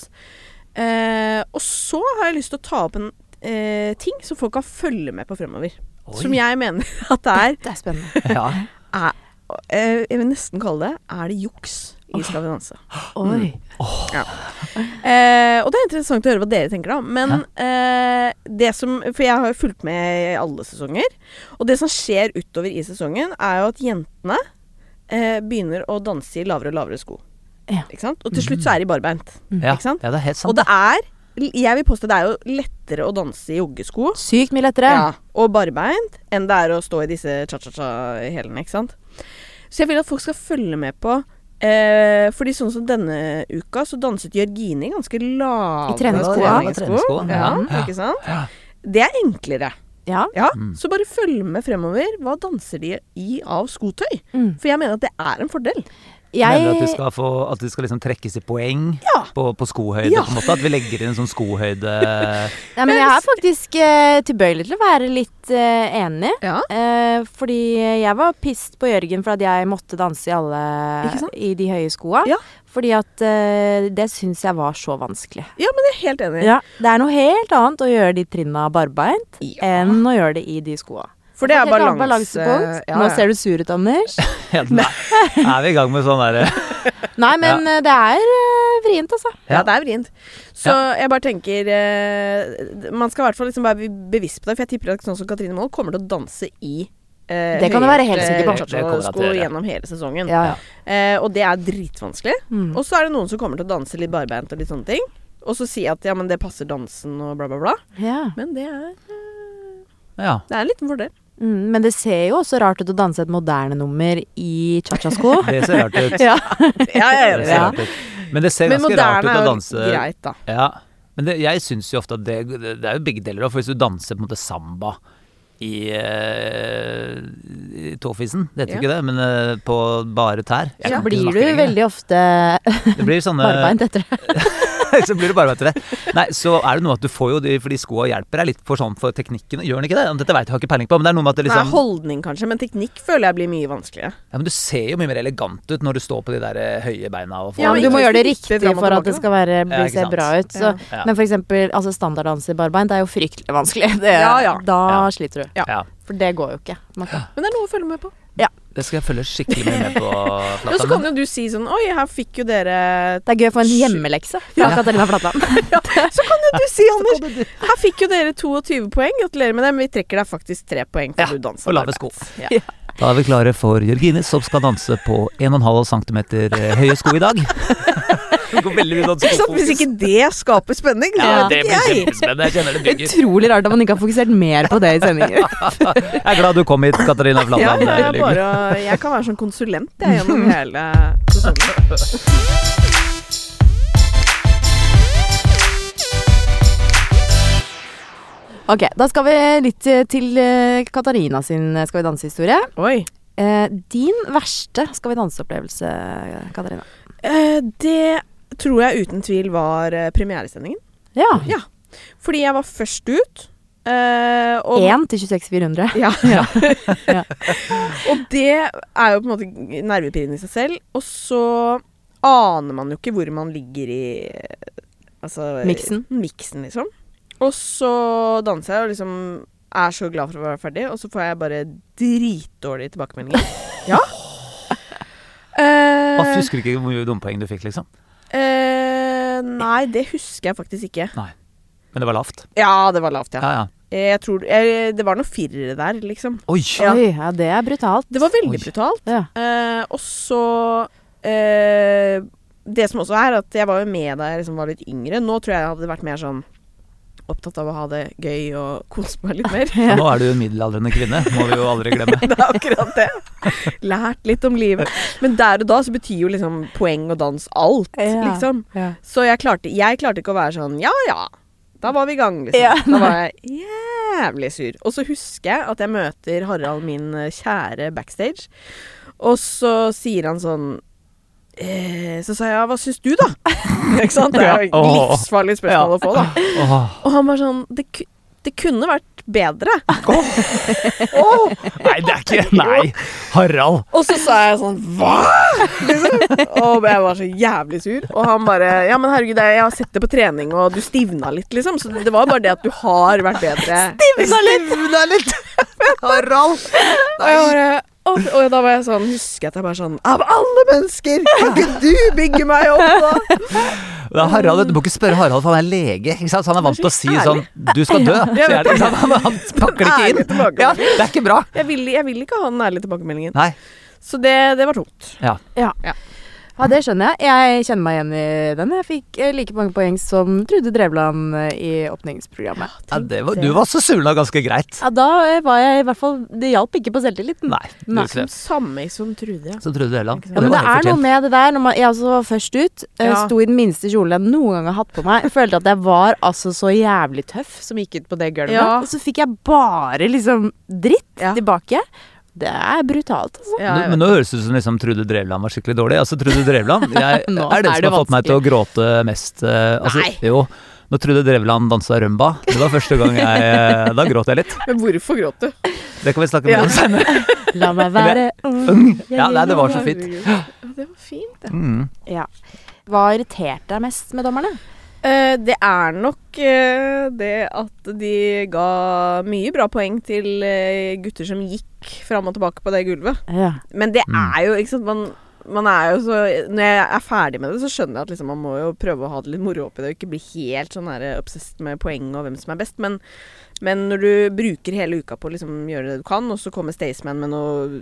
S5: Eh, og så har jeg lyst til å ta opp en eh, ting som folk kan følge med på fremover.
S2: Oi.
S5: Som jeg mener <laughs> at det er,
S1: Det er spennende.
S5: <laughs>
S2: Ja.
S5: er eh, Jeg vil nesten kalle det Er det juks i Skal vi danse?
S1: Oi.
S5: Eh, og det er interessant å høre hva dere tenker, da. Men eh, det som For jeg har jo fulgt med i alle sesonger. Og det som skjer utover i sesongen, er jo at jentene eh, begynner å danse i lavere og lavere sko.
S1: Ja.
S5: Ikke sant? Og til slutt så er de barbeint.
S2: Ja.
S5: Ikke sant?
S2: ja, det er helt
S5: Og
S2: sant.
S5: det er Jeg vil påstå det er jo lettere å danse i joggesko
S1: Sykt mye lettere.
S5: ja, og barbeint enn det er å stå i disse cha-cha-cha-hælene, ikke sant. Så jeg vil at folk skal følge med på eh, Fordi sånn som denne uka, så danset Jørgine i ganske lave
S1: I treningssko,
S2: ja.
S5: treningssko.
S2: Treningssko,
S5: Ja,
S2: ja.
S5: ikke sant?
S2: Ja. Mm.
S5: Det er enklere.
S1: Ja.
S5: Ja, Så bare følg med fremover. Hva danser de i av skotøy?
S1: Mm.
S5: For jeg mener at det er en fordel.
S2: Mener du at
S1: Jeg
S2: du skal, få, at du skal liksom trekkes i poeng
S5: Ja.
S2: på, på skohøyde?
S5: Ja.
S2: på en måte? At vi legger inn en sånn skohøyde
S5: <laughs>
S1: Nei, men jeg er faktisk eh, tilbøyelig til å være litt eh, enig.
S5: Ja.
S1: Eh, fordi jeg var pissed på Jørgen for at jeg måtte danse i alle
S5: Ikke sant?
S1: I de høye skoa.
S5: Ja.
S1: Fordi at eh, det syns jeg var så vanskelig.
S5: Ja, men jeg er helt enig.
S1: Ja, Det er noe helt annet å gjøre de trinna barbeint enn å gjøre det i de skoa.
S5: For det er
S1: Helt annet
S5: balanse...
S1: balansepunkt.
S5: Ja,
S1: Nå
S5: ja.
S1: ser du sur ut, Anders.
S2: Ja, Nei, er vi i gang med sånn derre
S1: Nei, men eh, det er eh, vrient, altså.
S5: Ja, det er vrient. Så jeg bare tenker eh, Man skal i hvert fall liksom være bevisst på det, for jeg tipper at sånn som Katrine Moll kommer til å danse i eh,
S1: Det kan du være helt
S5: høyhælte
S1: sikker på.
S2: Det kommer hun til å
S5: cha-cha-sko
S2: gjøre.
S5: gjennom hele sesongen.
S1: Ja, Mm. ja.
S5: Eh, og det er dritvanskelig. Og så er det noen som kommer til å danse litt barbeint og litt sånne ting. Og så si at ja, men det passer dansen og bla, bla, bla.
S1: ja.
S5: Men det er,
S2: Ja.
S5: det er en liten fordel.
S1: Mm, men det ser jo også rart ut å danse et moderne nummer i cha-cha-sko.
S2: <laughs> Det ser rart
S5: <laughs>
S2: ut.
S1: <laughs> ja.
S5: <laughs> Ja, jeg
S2: Det ser rart ut. Men det ser
S5: Men
S2: ganske rart ut
S5: moderne
S2: å
S5: er jo
S2: danse
S5: greit, da.
S2: Ja, men det, jeg syns jo ofte at det, det er jo begge deler. da, For hvis du danser på en måte samba i, eh, i tåfisen, det heter jo
S5: Ja.
S2: ikke det, men eh, på bare tær
S1: Så
S2: Jeg kan ikke
S1: blir du
S2: snakke lenger.
S1: veldig ofte
S2: <laughs> Det blir sånne
S1: <laughs> barbeint etter det.
S2: Så blir du barbeint til det. Nei, så er det noe at du får jo de, for de skoa hjelper deg litt for sånn for teknikken. Gjør den ikke det? Dette veit jeg har ikke peiling på, men det er noe med at det
S5: Nei,
S2: liksom
S5: holdning kanskje, men teknikk føler jeg blir mye vanskeligere.
S2: Ja, men du ser jo mye mer elegant ut når du står på de der eh, høye beina og får
S5: Ja,
S1: Ja,
S5: men
S1: men du må
S5: ikke
S1: gjøre det
S5: hvis du
S1: riktig
S5: vipper fram og
S1: for at det
S5: tilbake,
S1: skal være, bli,
S2: Ja, ikke
S1: se
S2: sant.
S1: bra ut. Så.
S2: Ja.
S1: Men for eksempel altså standarddans i barbeint er jo fryktelig vanskelig. <laughs> Det,
S5: Ja, ja.
S1: Da
S2: Ja.
S1: sliter du.
S5: Ja.
S2: Ja.
S1: For det går jo ikke. Man kan.
S5: Men det er noe å følge med på.
S2: Det skal jeg følge skikkelig mye
S1: <laughs>
S2: med på.
S5: Og så
S2: Flatan.
S5: kan jo du si sånn Oi, her fikk jo <laughs> dere
S1: Det er gøy å få en hjemmelekse fra Katarina Flatland.
S2: <laughs>
S5: <laughs> Så kan jo du si, Anders Her fikk jo dere 22 poeng. Gratulerer med det, men vi trekker deg faktisk 3 poeng. For
S2: Ja,
S5: du danser
S2: og lave
S5: arbeid.
S2: sko.
S5: Ja.
S2: Da er vi klare for Jørgine, som skal danse på 1,5 cm eh, høye sko i dag. Hun går veldig mye dans
S5: Ikke sant? Hvis ikke det skaper spenning, så
S2: Ja,
S5: vet
S2: det
S5: ikke
S2: blir
S5: jeg.
S2: kjempespennende. Jeg kjenner det bygger.
S1: Utrolig rart at man ikke har fokusert mer på det i sendinger.
S2: <laughs> Jeg er glad du kom hit,
S5: <laughs>
S2: Katarina eh,
S5: Ja,
S2: Flatland.
S5: jeg, er
S2: Det er veldig hyggelig.
S5: bare, jeg kan være sånn konsulent jeg, gjennom <laughs> hele sesongen.
S1: Ok, Da skal vi litt eh, til eh, Katarina sin eh, Skal vi danse-historie.
S5: Oi.
S1: Eh, din verste Skal vi danse-opplevelse, Katarina?
S5: Eh, det tror jeg uten tvil var eh, premieresendingen.
S1: Ja.
S5: Ja. Fordi jeg var først ut. eh, og
S1: 1 til 26 400.
S5: Ja.
S1: <laughs> Ja.
S5: og det er jo på en måte nervepirrende i seg selv. Og så aner man jo ikke hvor man ligger i altså,
S1: Miksen.
S5: miksen, liksom. Og så danser jeg og liksom er så glad for å være ferdig, og så får jeg bare dritdårlige tilbakemeldinger. <laughs> ja. Eh,
S2: Aff, husker du ikke hvor mye dumpoeng du fikk, liksom?
S5: eh, nei, det husker jeg faktisk ikke.
S2: Nei. Men det var lavt.
S5: Ja, det var lavt, ja.
S2: Ja, ja.
S5: Jeg tror, jeg, det var noe firere der, liksom.
S2: Oi!
S5: Ja.
S1: Oi, ja, det er brutalt.
S5: Det var veldig
S2: Oi.
S5: brutalt.
S1: Ja.
S5: Eh, og så eh, Det som også er, at jeg var jo med da jeg liksom var litt yngre. Nå tror jeg jeg hadde vært mer sånn opptatt av å ha det gøy og kose meg litt
S2: <laughs>
S5: mer.
S2: Så Nå er du en middelaldrende kvinne, må vi jo aldri
S5: <laughs>
S2: glemme.
S5: Det er akkurat det. Lært litt om livet. Men der og da så betyr jo liksom poeng og dans alt,
S1: Ja.
S5: liksom.
S1: Ja.
S5: Så jeg klarte, jeg klarte ikke å være sånn ja ja, da var vi i gang, liksom.
S1: Ja,
S5: da var jeg jævlig sur. Og så husker jeg at jeg møter Harald, min eh, kjære, backstage. Og så sier han sånn eh, Så sa jeg hva syns du, da? <laughs> ikke sant? Det er jo et
S2: Åh.
S5: livsfarlig spørsmål å få, da.
S2: Åh,
S5: Og han var sånn det, ku- det kunne vært bedre.
S2: nei, det er ikke Nei, Harald.
S5: Og så sa jeg sånn Hva?! Liksom. Og jeg var så jævlig sur. Og han bare Ja, men herregud, jeg har sett det på trening, og du stivna litt, liksom. Så det var bare det at du har vært bedre.
S1: Stivna litt!
S2: Harald!
S5: Og, jeg bare, og, og da var jeg sånn Husker jeg at jeg bare sånn Av alle mennesker, kan ikke du bygge meg opp, <laughs> da?
S2: Det er Harald, Du må ikke spørre Harald, for han er lege. Ikke sant? Så han er vant til å si sånn Du skal
S1: <laughs>
S2: dø, sier han. ikke sant? sånn, Han, han pakker det
S5: Ærlig
S2: ikke inn.
S5: tilbakemelding.
S2: Ja, det er ikke bra.
S5: Jeg vil, jeg vil ikke ha den ærlige tilbakemeldingen.
S2: Nei.
S5: Så det, det var tungt.
S2: Ja.
S1: Ja.
S5: Ja.
S1: Ja, det skjønner jeg. Jeg kjenner meg igjen i den. Jeg fikk eh, like mange poeng som Trude Drevland eh, i åpningsprogrammet.
S2: Ja, det var, du var også surna ganske greit.
S1: Ja, da eh, var jeg i hvert fall Det hjalp ikke på selvtilliten.
S2: Nei, du
S1: Nei.
S2: ikke det.
S5: Samme som Trude.
S2: Så trodde du Helland.
S1: Ja, men det er noe med det der når man, Jeg også var først ut. eh,
S5: Ja.
S1: Sto i den minste kjolen jeg noen gang har hatt på meg. Følte at jeg var altså så jævlig tøff som gikk ut på det gulvet.
S5: Ja.
S1: Og så fikk jeg bare liksom dritt
S5: Ja.
S1: tilbake. Det er brutalt, altså.
S5: Ja, jeg
S2: men nå høres det ut som liksom, Trude Drevland var skikkelig dårlig. Altså, Trude Drevland
S1: <laughs>
S2: jeg, er den
S1: Nå
S2: som har
S1: er det
S2: fått meg til å gråte mest. eh, altså,
S1: Nei.
S2: Jo, når Trude Drevland dansa rumba, det var første gang jeg eh, Da gråt jeg litt.
S5: vet. Men hvorfor gråt du?
S2: Det kan vi snakke mer om senere.
S1: La meg
S2: <laughs>
S1: være ung.
S2: Ja, nei, det var så fint.
S5: Herregud. Ja, Det var fint, det.
S2: Mm.
S1: Ja. Hva irriterte deg mest med dommerne?
S5: Eh, det er nok eh, det at de ga mye bra poeng til eh, gutter som gikk fram og tilbake på det gulvet.
S1: Ja.
S5: Men det
S2: Mm.
S5: er jo ikke sant, man, man er jo så Når jeg er ferdig med det, så skjønner jeg at liksom, man må jo prøve å ha det litt moro oppi det, og ikke bli helt sånn her obsessed med poeng og hvem som er best. Men, men når du bruker hele uka på å liksom, gjøre det du kan, og så kommer Staysman med noen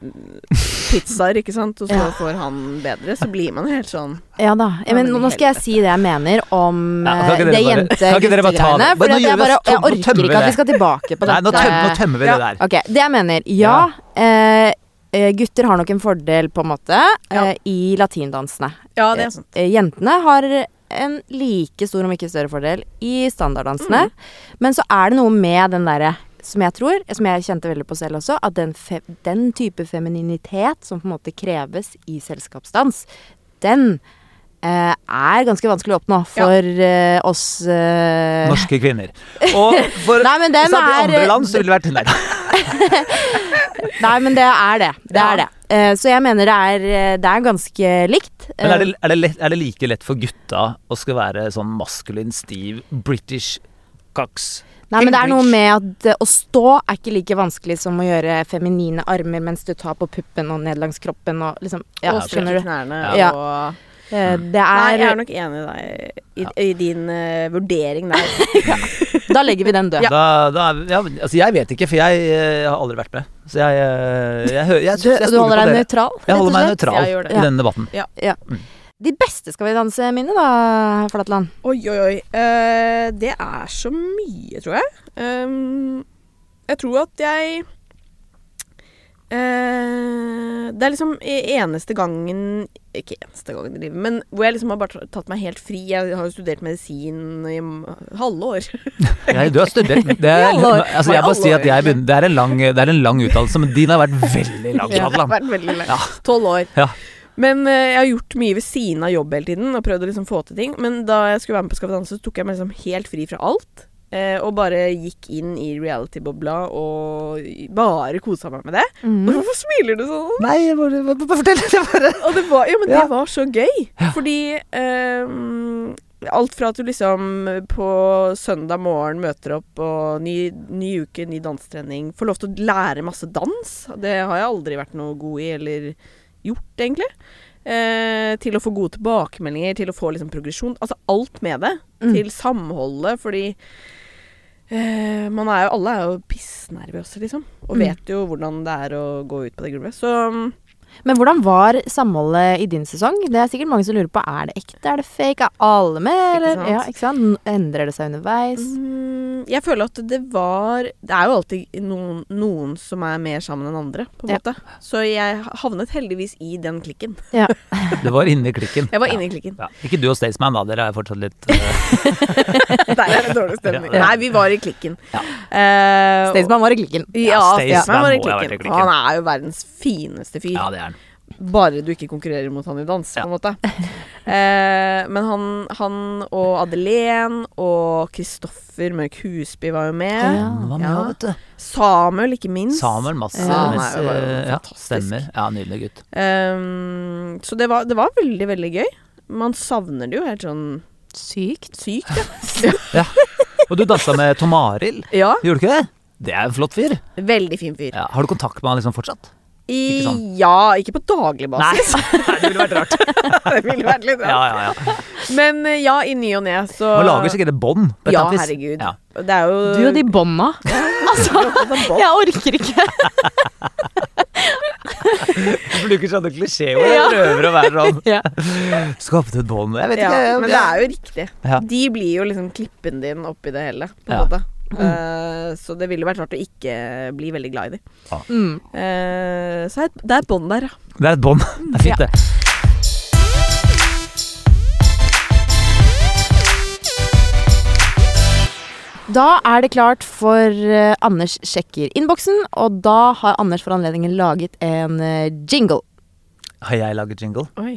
S5: pizzaer, ikke sant, og så
S1: <laughs> Ja.
S5: får han bedre, så blir man helt sånn
S1: Ja da. Ja, men nå nå skal jeg si det jeg mener om
S2: Ja, kan
S1: eh,
S2: ikke dere
S1: det
S2: bare- kan ikke dere bare ta
S1: jente-guttegreiene. For
S2: det? Bare nå
S1: at jeg,
S2: gjør vi
S1: bare,
S2: oss
S1: jeg
S2: tom- nå
S1: orker
S2: tømmer vi
S1: ikke at vi
S2: det.
S1: skal tilbake på
S2: Nei, nå,
S1: dette.
S2: tøm, nå tømmer vi det der.
S1: Ok, Det jeg mener. Ja, eh, eh, gutter har nok en fordel, på en måte,
S5: Ja.
S1: eh, i latindansene.
S5: Ja, det er sånn.
S1: Eh, Jentene har en like stor, om ikke større, fordel i standarddansene.
S5: Mm.
S1: Men så er det noe med den derre som jeg tror, som jeg kjente veldig på selv også, at den, fe den type femininitet som på en måte kreves i selskapsdans, den eh, er ganske vanskelig å oppnå for eh, oss eh,
S2: Norske kvinner. Og for
S1: Nei, men den
S2: satt i
S1: er- eh,
S2: andre land så ville det vært Nei da.
S1: Nei, men det er det. Det
S5: Ja.
S1: er det. Eh, så jeg mener det er, eh, det er ganske likt. Eh,
S2: Men er det, er, det lett, er det like lett for gutta å skal være sånn maskulin, stiv, British cox?
S1: Nei, men det er noe med at eh, å stå er ikke like vanskelig som å gjøre feminine armer mens du tar på puppen og ned langs kroppen og liksom Ja,
S5: og strekke
S1: skjønner du.
S5: knærne
S1: Ja.
S5: og
S1: Eh, Det
S5: Nei, jeg er
S1: er
S5: nok enig i deg i, i din eh, vurdering der.
S1: <laughs> Da legger vi den død.
S2: Da, da er, vi- ja, men, altså, jeg vet ikke, for jeg, eh, har aldri vært med. Så jeg, eh, jeg, hø- jeg,
S1: Du,
S2: jeg
S1: du
S2: stoler på
S1: holder deg
S2: dere.
S1: nøytral,
S2: Jeg holder meg
S1: rett og slett?
S2: nøytral
S5: Jeg gjør det.
S2: i denne debatten.
S1: Ja. De beste Skal vi danse-minnet, da, Flatland.
S5: Oi, oi, oi. Eh, det er så mye, tror jeg. Ehm, jeg tror at jeg eh, Det er liksom e- eneste gangen Ikke eneste gangen i livet, men hvor jeg liksom har bare tatt meg helt fri. Jeg har jo studert medisin i m- halve år.
S2: Jeg, du har
S1: <laughs>
S2: studert det er,
S5: alle år.
S2: altså, jeg
S5: Var
S2: må
S5: i
S2: si
S5: alle
S2: at jeg begynner, Det er en lang, det er en lang uttalelse, men din har vært veldig lang.
S5: Ja, det har
S2: Adeland.
S5: vært veldig langt. Tolv år.
S2: Ja.
S5: Men eh, jeg har gjort mye ved siden av jobb hele tiden og prøvd å liksom få til ting. Men da jeg skulle være med på Skal vi danse, så tok jeg meg liksom helt fri fra alt. eh, og bare gikk inn i reality-bobla og bare kosa meg med det. Hvorfor smiler du sånn?
S2: Nei, bare, bare, bare fortell. Jeg
S1: <laughs>
S2: bare.
S5: <laughs> Og det var, ja, men
S2: Ja.
S5: det var så gøy. Fordi ehm, alt fra at du liksom på søndag morgen møter opp og ny, ny uke, ny dansetrening, får lov til å lære masse dans. Det har jeg aldri vært noe god i eller gjort, egentlig. Eh, til å få gode tilbakemeldinger, til å få liksom progresjon. Altså alt med det.
S1: Mm.
S5: Til samholdet, fordi eh, man er jo, alle er jo pissnervøse, liksom. Og
S1: Mm.
S5: vet jo hvordan det er å gå ut på det gulvet. Så mm,
S1: Men hvordan var samholdet i din sesong? Det er sikkert mange som lurer på er det ekte, er det fake, er alle med, eller?
S5: Ikke sant?
S1: Ja, ikke sant? Endrer det seg underveis?
S5: Mm, Jeg føler at det var Det er jo alltid noen, noen som er mer sammen enn andre, på en
S1: Ja.
S5: måte. Så jeg havnet heldigvis i den klikken.
S1: Ja.
S2: Du var inne i klikken.
S5: Jeg var
S2: Ja.
S5: inne i klikken. <laughs>
S2: Ja. Ikke du og Staysman, da. Dere er fortsatt litt eh,
S5: Der er det dårlig stemning.
S2: Ja.
S5: Nei, vi var i klikken.
S2: Ja.
S5: Eh, og-
S1: Staysman var i klikken.
S5: Ja,
S2: Staysman
S5: Staysman var i
S2: må ha vært i
S5: klikken.
S2: klikken.
S5: Han er jo verdens fineste fyr.
S2: Ja, det er han.
S5: Bare du ikke konkurrerer mot han i dans,
S2: Ja.
S5: på en måte. Eh, men han, han og Adelén og Kristoffer Mørk Husby var jo med.
S1: Ja.
S2: Han var med,
S5: Ja.
S2: ja. vet du.
S5: Samuel, ikke minst.
S2: Samuel Mads.
S1: Ja, han
S5: er jo bare
S2: ja,
S5: fantastisk.
S2: stemmer. Ja, nydelig gutt.
S5: Eh, så det var, det var veldig, veldig gøy. Man savner det jo helt sånn
S1: Sykt.
S5: sykt,
S2: <laughs>
S5: ja.
S2: Ja. Og du dansa med Tom Arild,
S5: ja.
S2: gjorde du ikke det? Det er en flott fyr.
S5: Veldig fin fyr.
S2: Ja. Har du kontakt med han liksom fortsatt?
S5: I,
S2: Ikke
S5: ikke
S2: sant?
S5: ja, ikke på daglig basis.
S2: <laughs>
S5: <laughs>
S2: Nei, det ville vært rart.
S5: det ville vært
S2: <laughs>
S5: litt
S2: Ja, <laughs>
S5: rart.
S2: ja, ja.
S5: Men eh, ja, i ny og ne, så
S2: Man lager sikkert et bånd. på et
S5: Ja,
S2: eller annet vis.
S5: herregud.
S2: Ja.
S5: Det er jo
S1: Du og de bånda. <laughs> Altså,
S2: sånn
S1: jeg orker ikke.
S2: Du bruker sånne klisjéord. Jeg prøver å være
S5: <laughs>
S2: sånn
S1: Ja.
S2: Skapte et bånd Jeg vet
S5: Ja,
S2: ikke. jeg-
S5: men det er jo riktig.
S2: Ja.
S5: De blir jo liksom klippen din oppi det hele, på en
S2: Ja. Mm.
S5: måte. Eh, så det ville vært rart å ikke bli veldig glad i dem.
S1: Mm.
S5: Eh, så er et- det er et bånd der, ja.
S2: Det er et bånd. Det er fint, det.
S1: <laughs> Da er det klart for eh, Anders sjekker innboksen, og da har Anders for anledningen laget en eh, jingle.
S2: Har jeg laget jingle?
S5: Oi.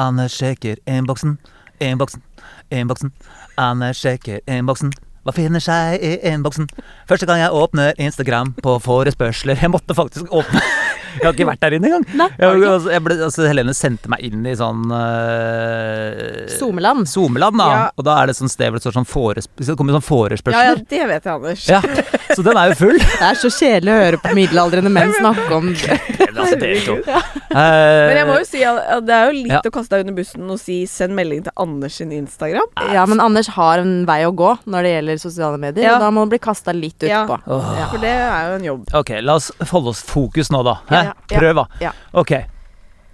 S2: Anders sjekker innboksen, innboksen, innboksen. Anders sjekker innboksen. Hva finner seg i innboksen? Første gang jeg åpner Instagram på forespørsler Jeg måtte faktisk åpne <laughs> Jeg har ikke vært der inne engang.
S1: Nei, har
S2: jeg,
S1: du ikke?
S2: altså, jeg ble, altså, Helene sendte meg inn i sånn uh,
S1: Zomeland.
S2: Zomeland, da.
S5: Ja.
S2: Og da er det sånn sted hvor det står sånn forespørsel Det kommer sånn
S5: Ja, ja,
S2: forespørsler.
S5: det vet jeg, Anders.
S2: Ja, Så den er jo full.
S1: Det er så kjedelig å høre på middelaldrende <laughs> menn snakke om det.
S2: <laughs> Eh,
S5: Men jeg må jo si at at det er jo litt
S2: Ja.
S5: å kaste deg under bussen og si 'send melding til Anders sin Instagram'.
S1: Ja, men Anders har en vei å gå når det gjelder sosiale medier,
S5: Ja.
S1: og da må han bli kasta litt utpå.
S5: Ja.
S1: på
S2: Åh.
S5: For det er jo en jobb.
S2: Ok, la oss holde oss fokus nå, da. Hæ?
S1: Ja, ja,
S2: Prøv, da.
S1: ja.
S2: Ok.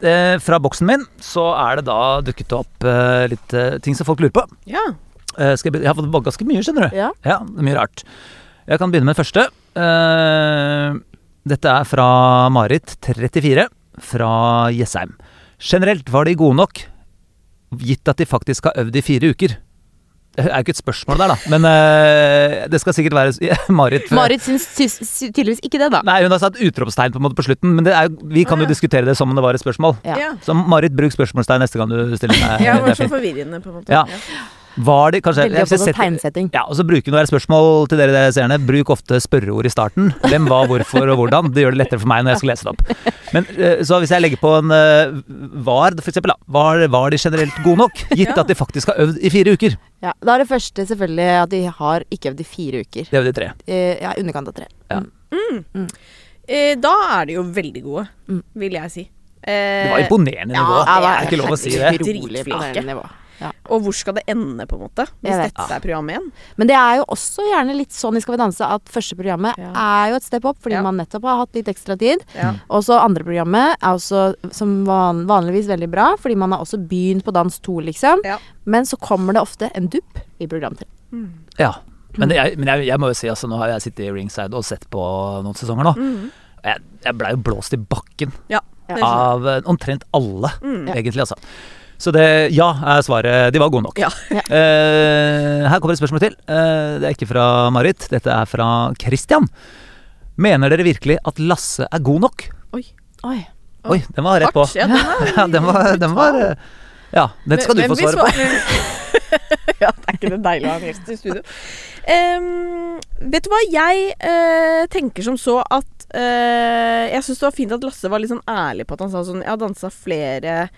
S2: Eh, fra boksen min så er det da dukket opp eh, litt eh, ting som folk lurer på.
S5: Ja.
S2: Eh, skal jeg, be- jeg har fått bak ganske mye, skjønner du.
S1: Ja.
S2: det er Mye rart. Jeg kan begynne med den første. Eh, dette er fra Marit, 34, fra Jessheim. Generelt var de gode nok, gitt at de faktisk har øvd i fire uker. Det er jo ikke et spørsmål der, da, men eh, det skal sikkert være <laughs> Marit. eh,
S1: Marit syns syns- syns tydeligvis ikke det, da.
S2: Nei, hun har satt utropstegn på en måte på slutten, men det er, jo- vi kan jo diskutere det som om det var et spørsmål.
S1: Ja.
S5: Ja.
S2: Så Marit, bruk spørsmålstegn neste gang du
S5: <laughs>
S2: stiller meg.
S5: Ja,
S2: Eh, det
S5: det var
S2: er
S5: så
S2: fint.
S5: forvirrende, på en måte.
S2: Ja. Var det kanskje
S1: Veldig
S2: jeg
S1: opptatt av
S2: setter-
S1: tegnsetting.
S2: Ja, og så bruker noen spørsmål til dere dere seerne. Bruk ofte spørreord i starten. Hvem, hva, hvorfor og hvordan. Det gjør det lettere for meg når jeg skal lese det opp. Men eh, så hvis jeg legger på en eh, var, for eksempel, da. Var, var de generelt gode nok? Gitt at de faktisk har øvd i fire uker.
S1: Ja, da er det første selvfølgelig at de har ikke øvd i fire uker.
S2: Det er jo de tre.
S1: Eh, ja, underkant av tre.
S2: Ja.
S5: Eh, da er de jo veldig gode, vil jeg si. Eh,
S2: Det var imponerende nivå.
S5: ja,
S2: det
S5: det
S2: er ikke lov å si det.
S5: herregud.
S1: Utrolig imponerende nivå. Ja.
S5: Og hvor skal det ende, på en måte? Hvis
S1: Jeg vet.
S5: dette er programmet igjen?
S1: Men det er jo også gjerne litt sånn i Skal vi danse at første programmet
S5: Ja.
S1: er jo et step up, fordi
S5: Ja.
S1: man nettopp har hatt litt ekstra tid.
S5: Ja.
S1: Og så andre programmet er også som van vanligvis veldig bra, fordi man har også begynt på dans to, liksom.
S5: Ja.
S1: Men så kommer det ofte en dupp i program tre.
S2: Ja, men, jeg, men jeg, jeg må jo si altså, Nå har jeg sittet i ringside og sett på noen sesonger nå. Jeg, jeg blei jo blåst i bakken
S5: Mm. Ja. Mm. det sånn. skjønner jeg.
S2: av eh, omtrent alle, egentlig, altså. Så det ja er svaret. De var gode nok.
S5: Ja.
S2: <laughs> Eh, her kommer et spørsmål til. Eh, det er ikke fra Marit, dette er fra Christian. Mener dere virkelig at Lasse er god nok?
S5: Oi.
S1: Oi.
S2: Oi, den var rett på.
S5: Hardt, ja, den er-
S2: <laughs> Ja, den var, den var eh, Ja, den skal du
S5: Hvem
S2: få
S5: vil
S2: svare på.
S5: <laughs> ja, det er ikke det deilig å ha en gjest i studio. Em, vet du hva, jeg eh, tenker som så at eh, Jeg syns det var fint at Lasse var litt sånn ærlig på at han sa sånn Jeg har dansa flere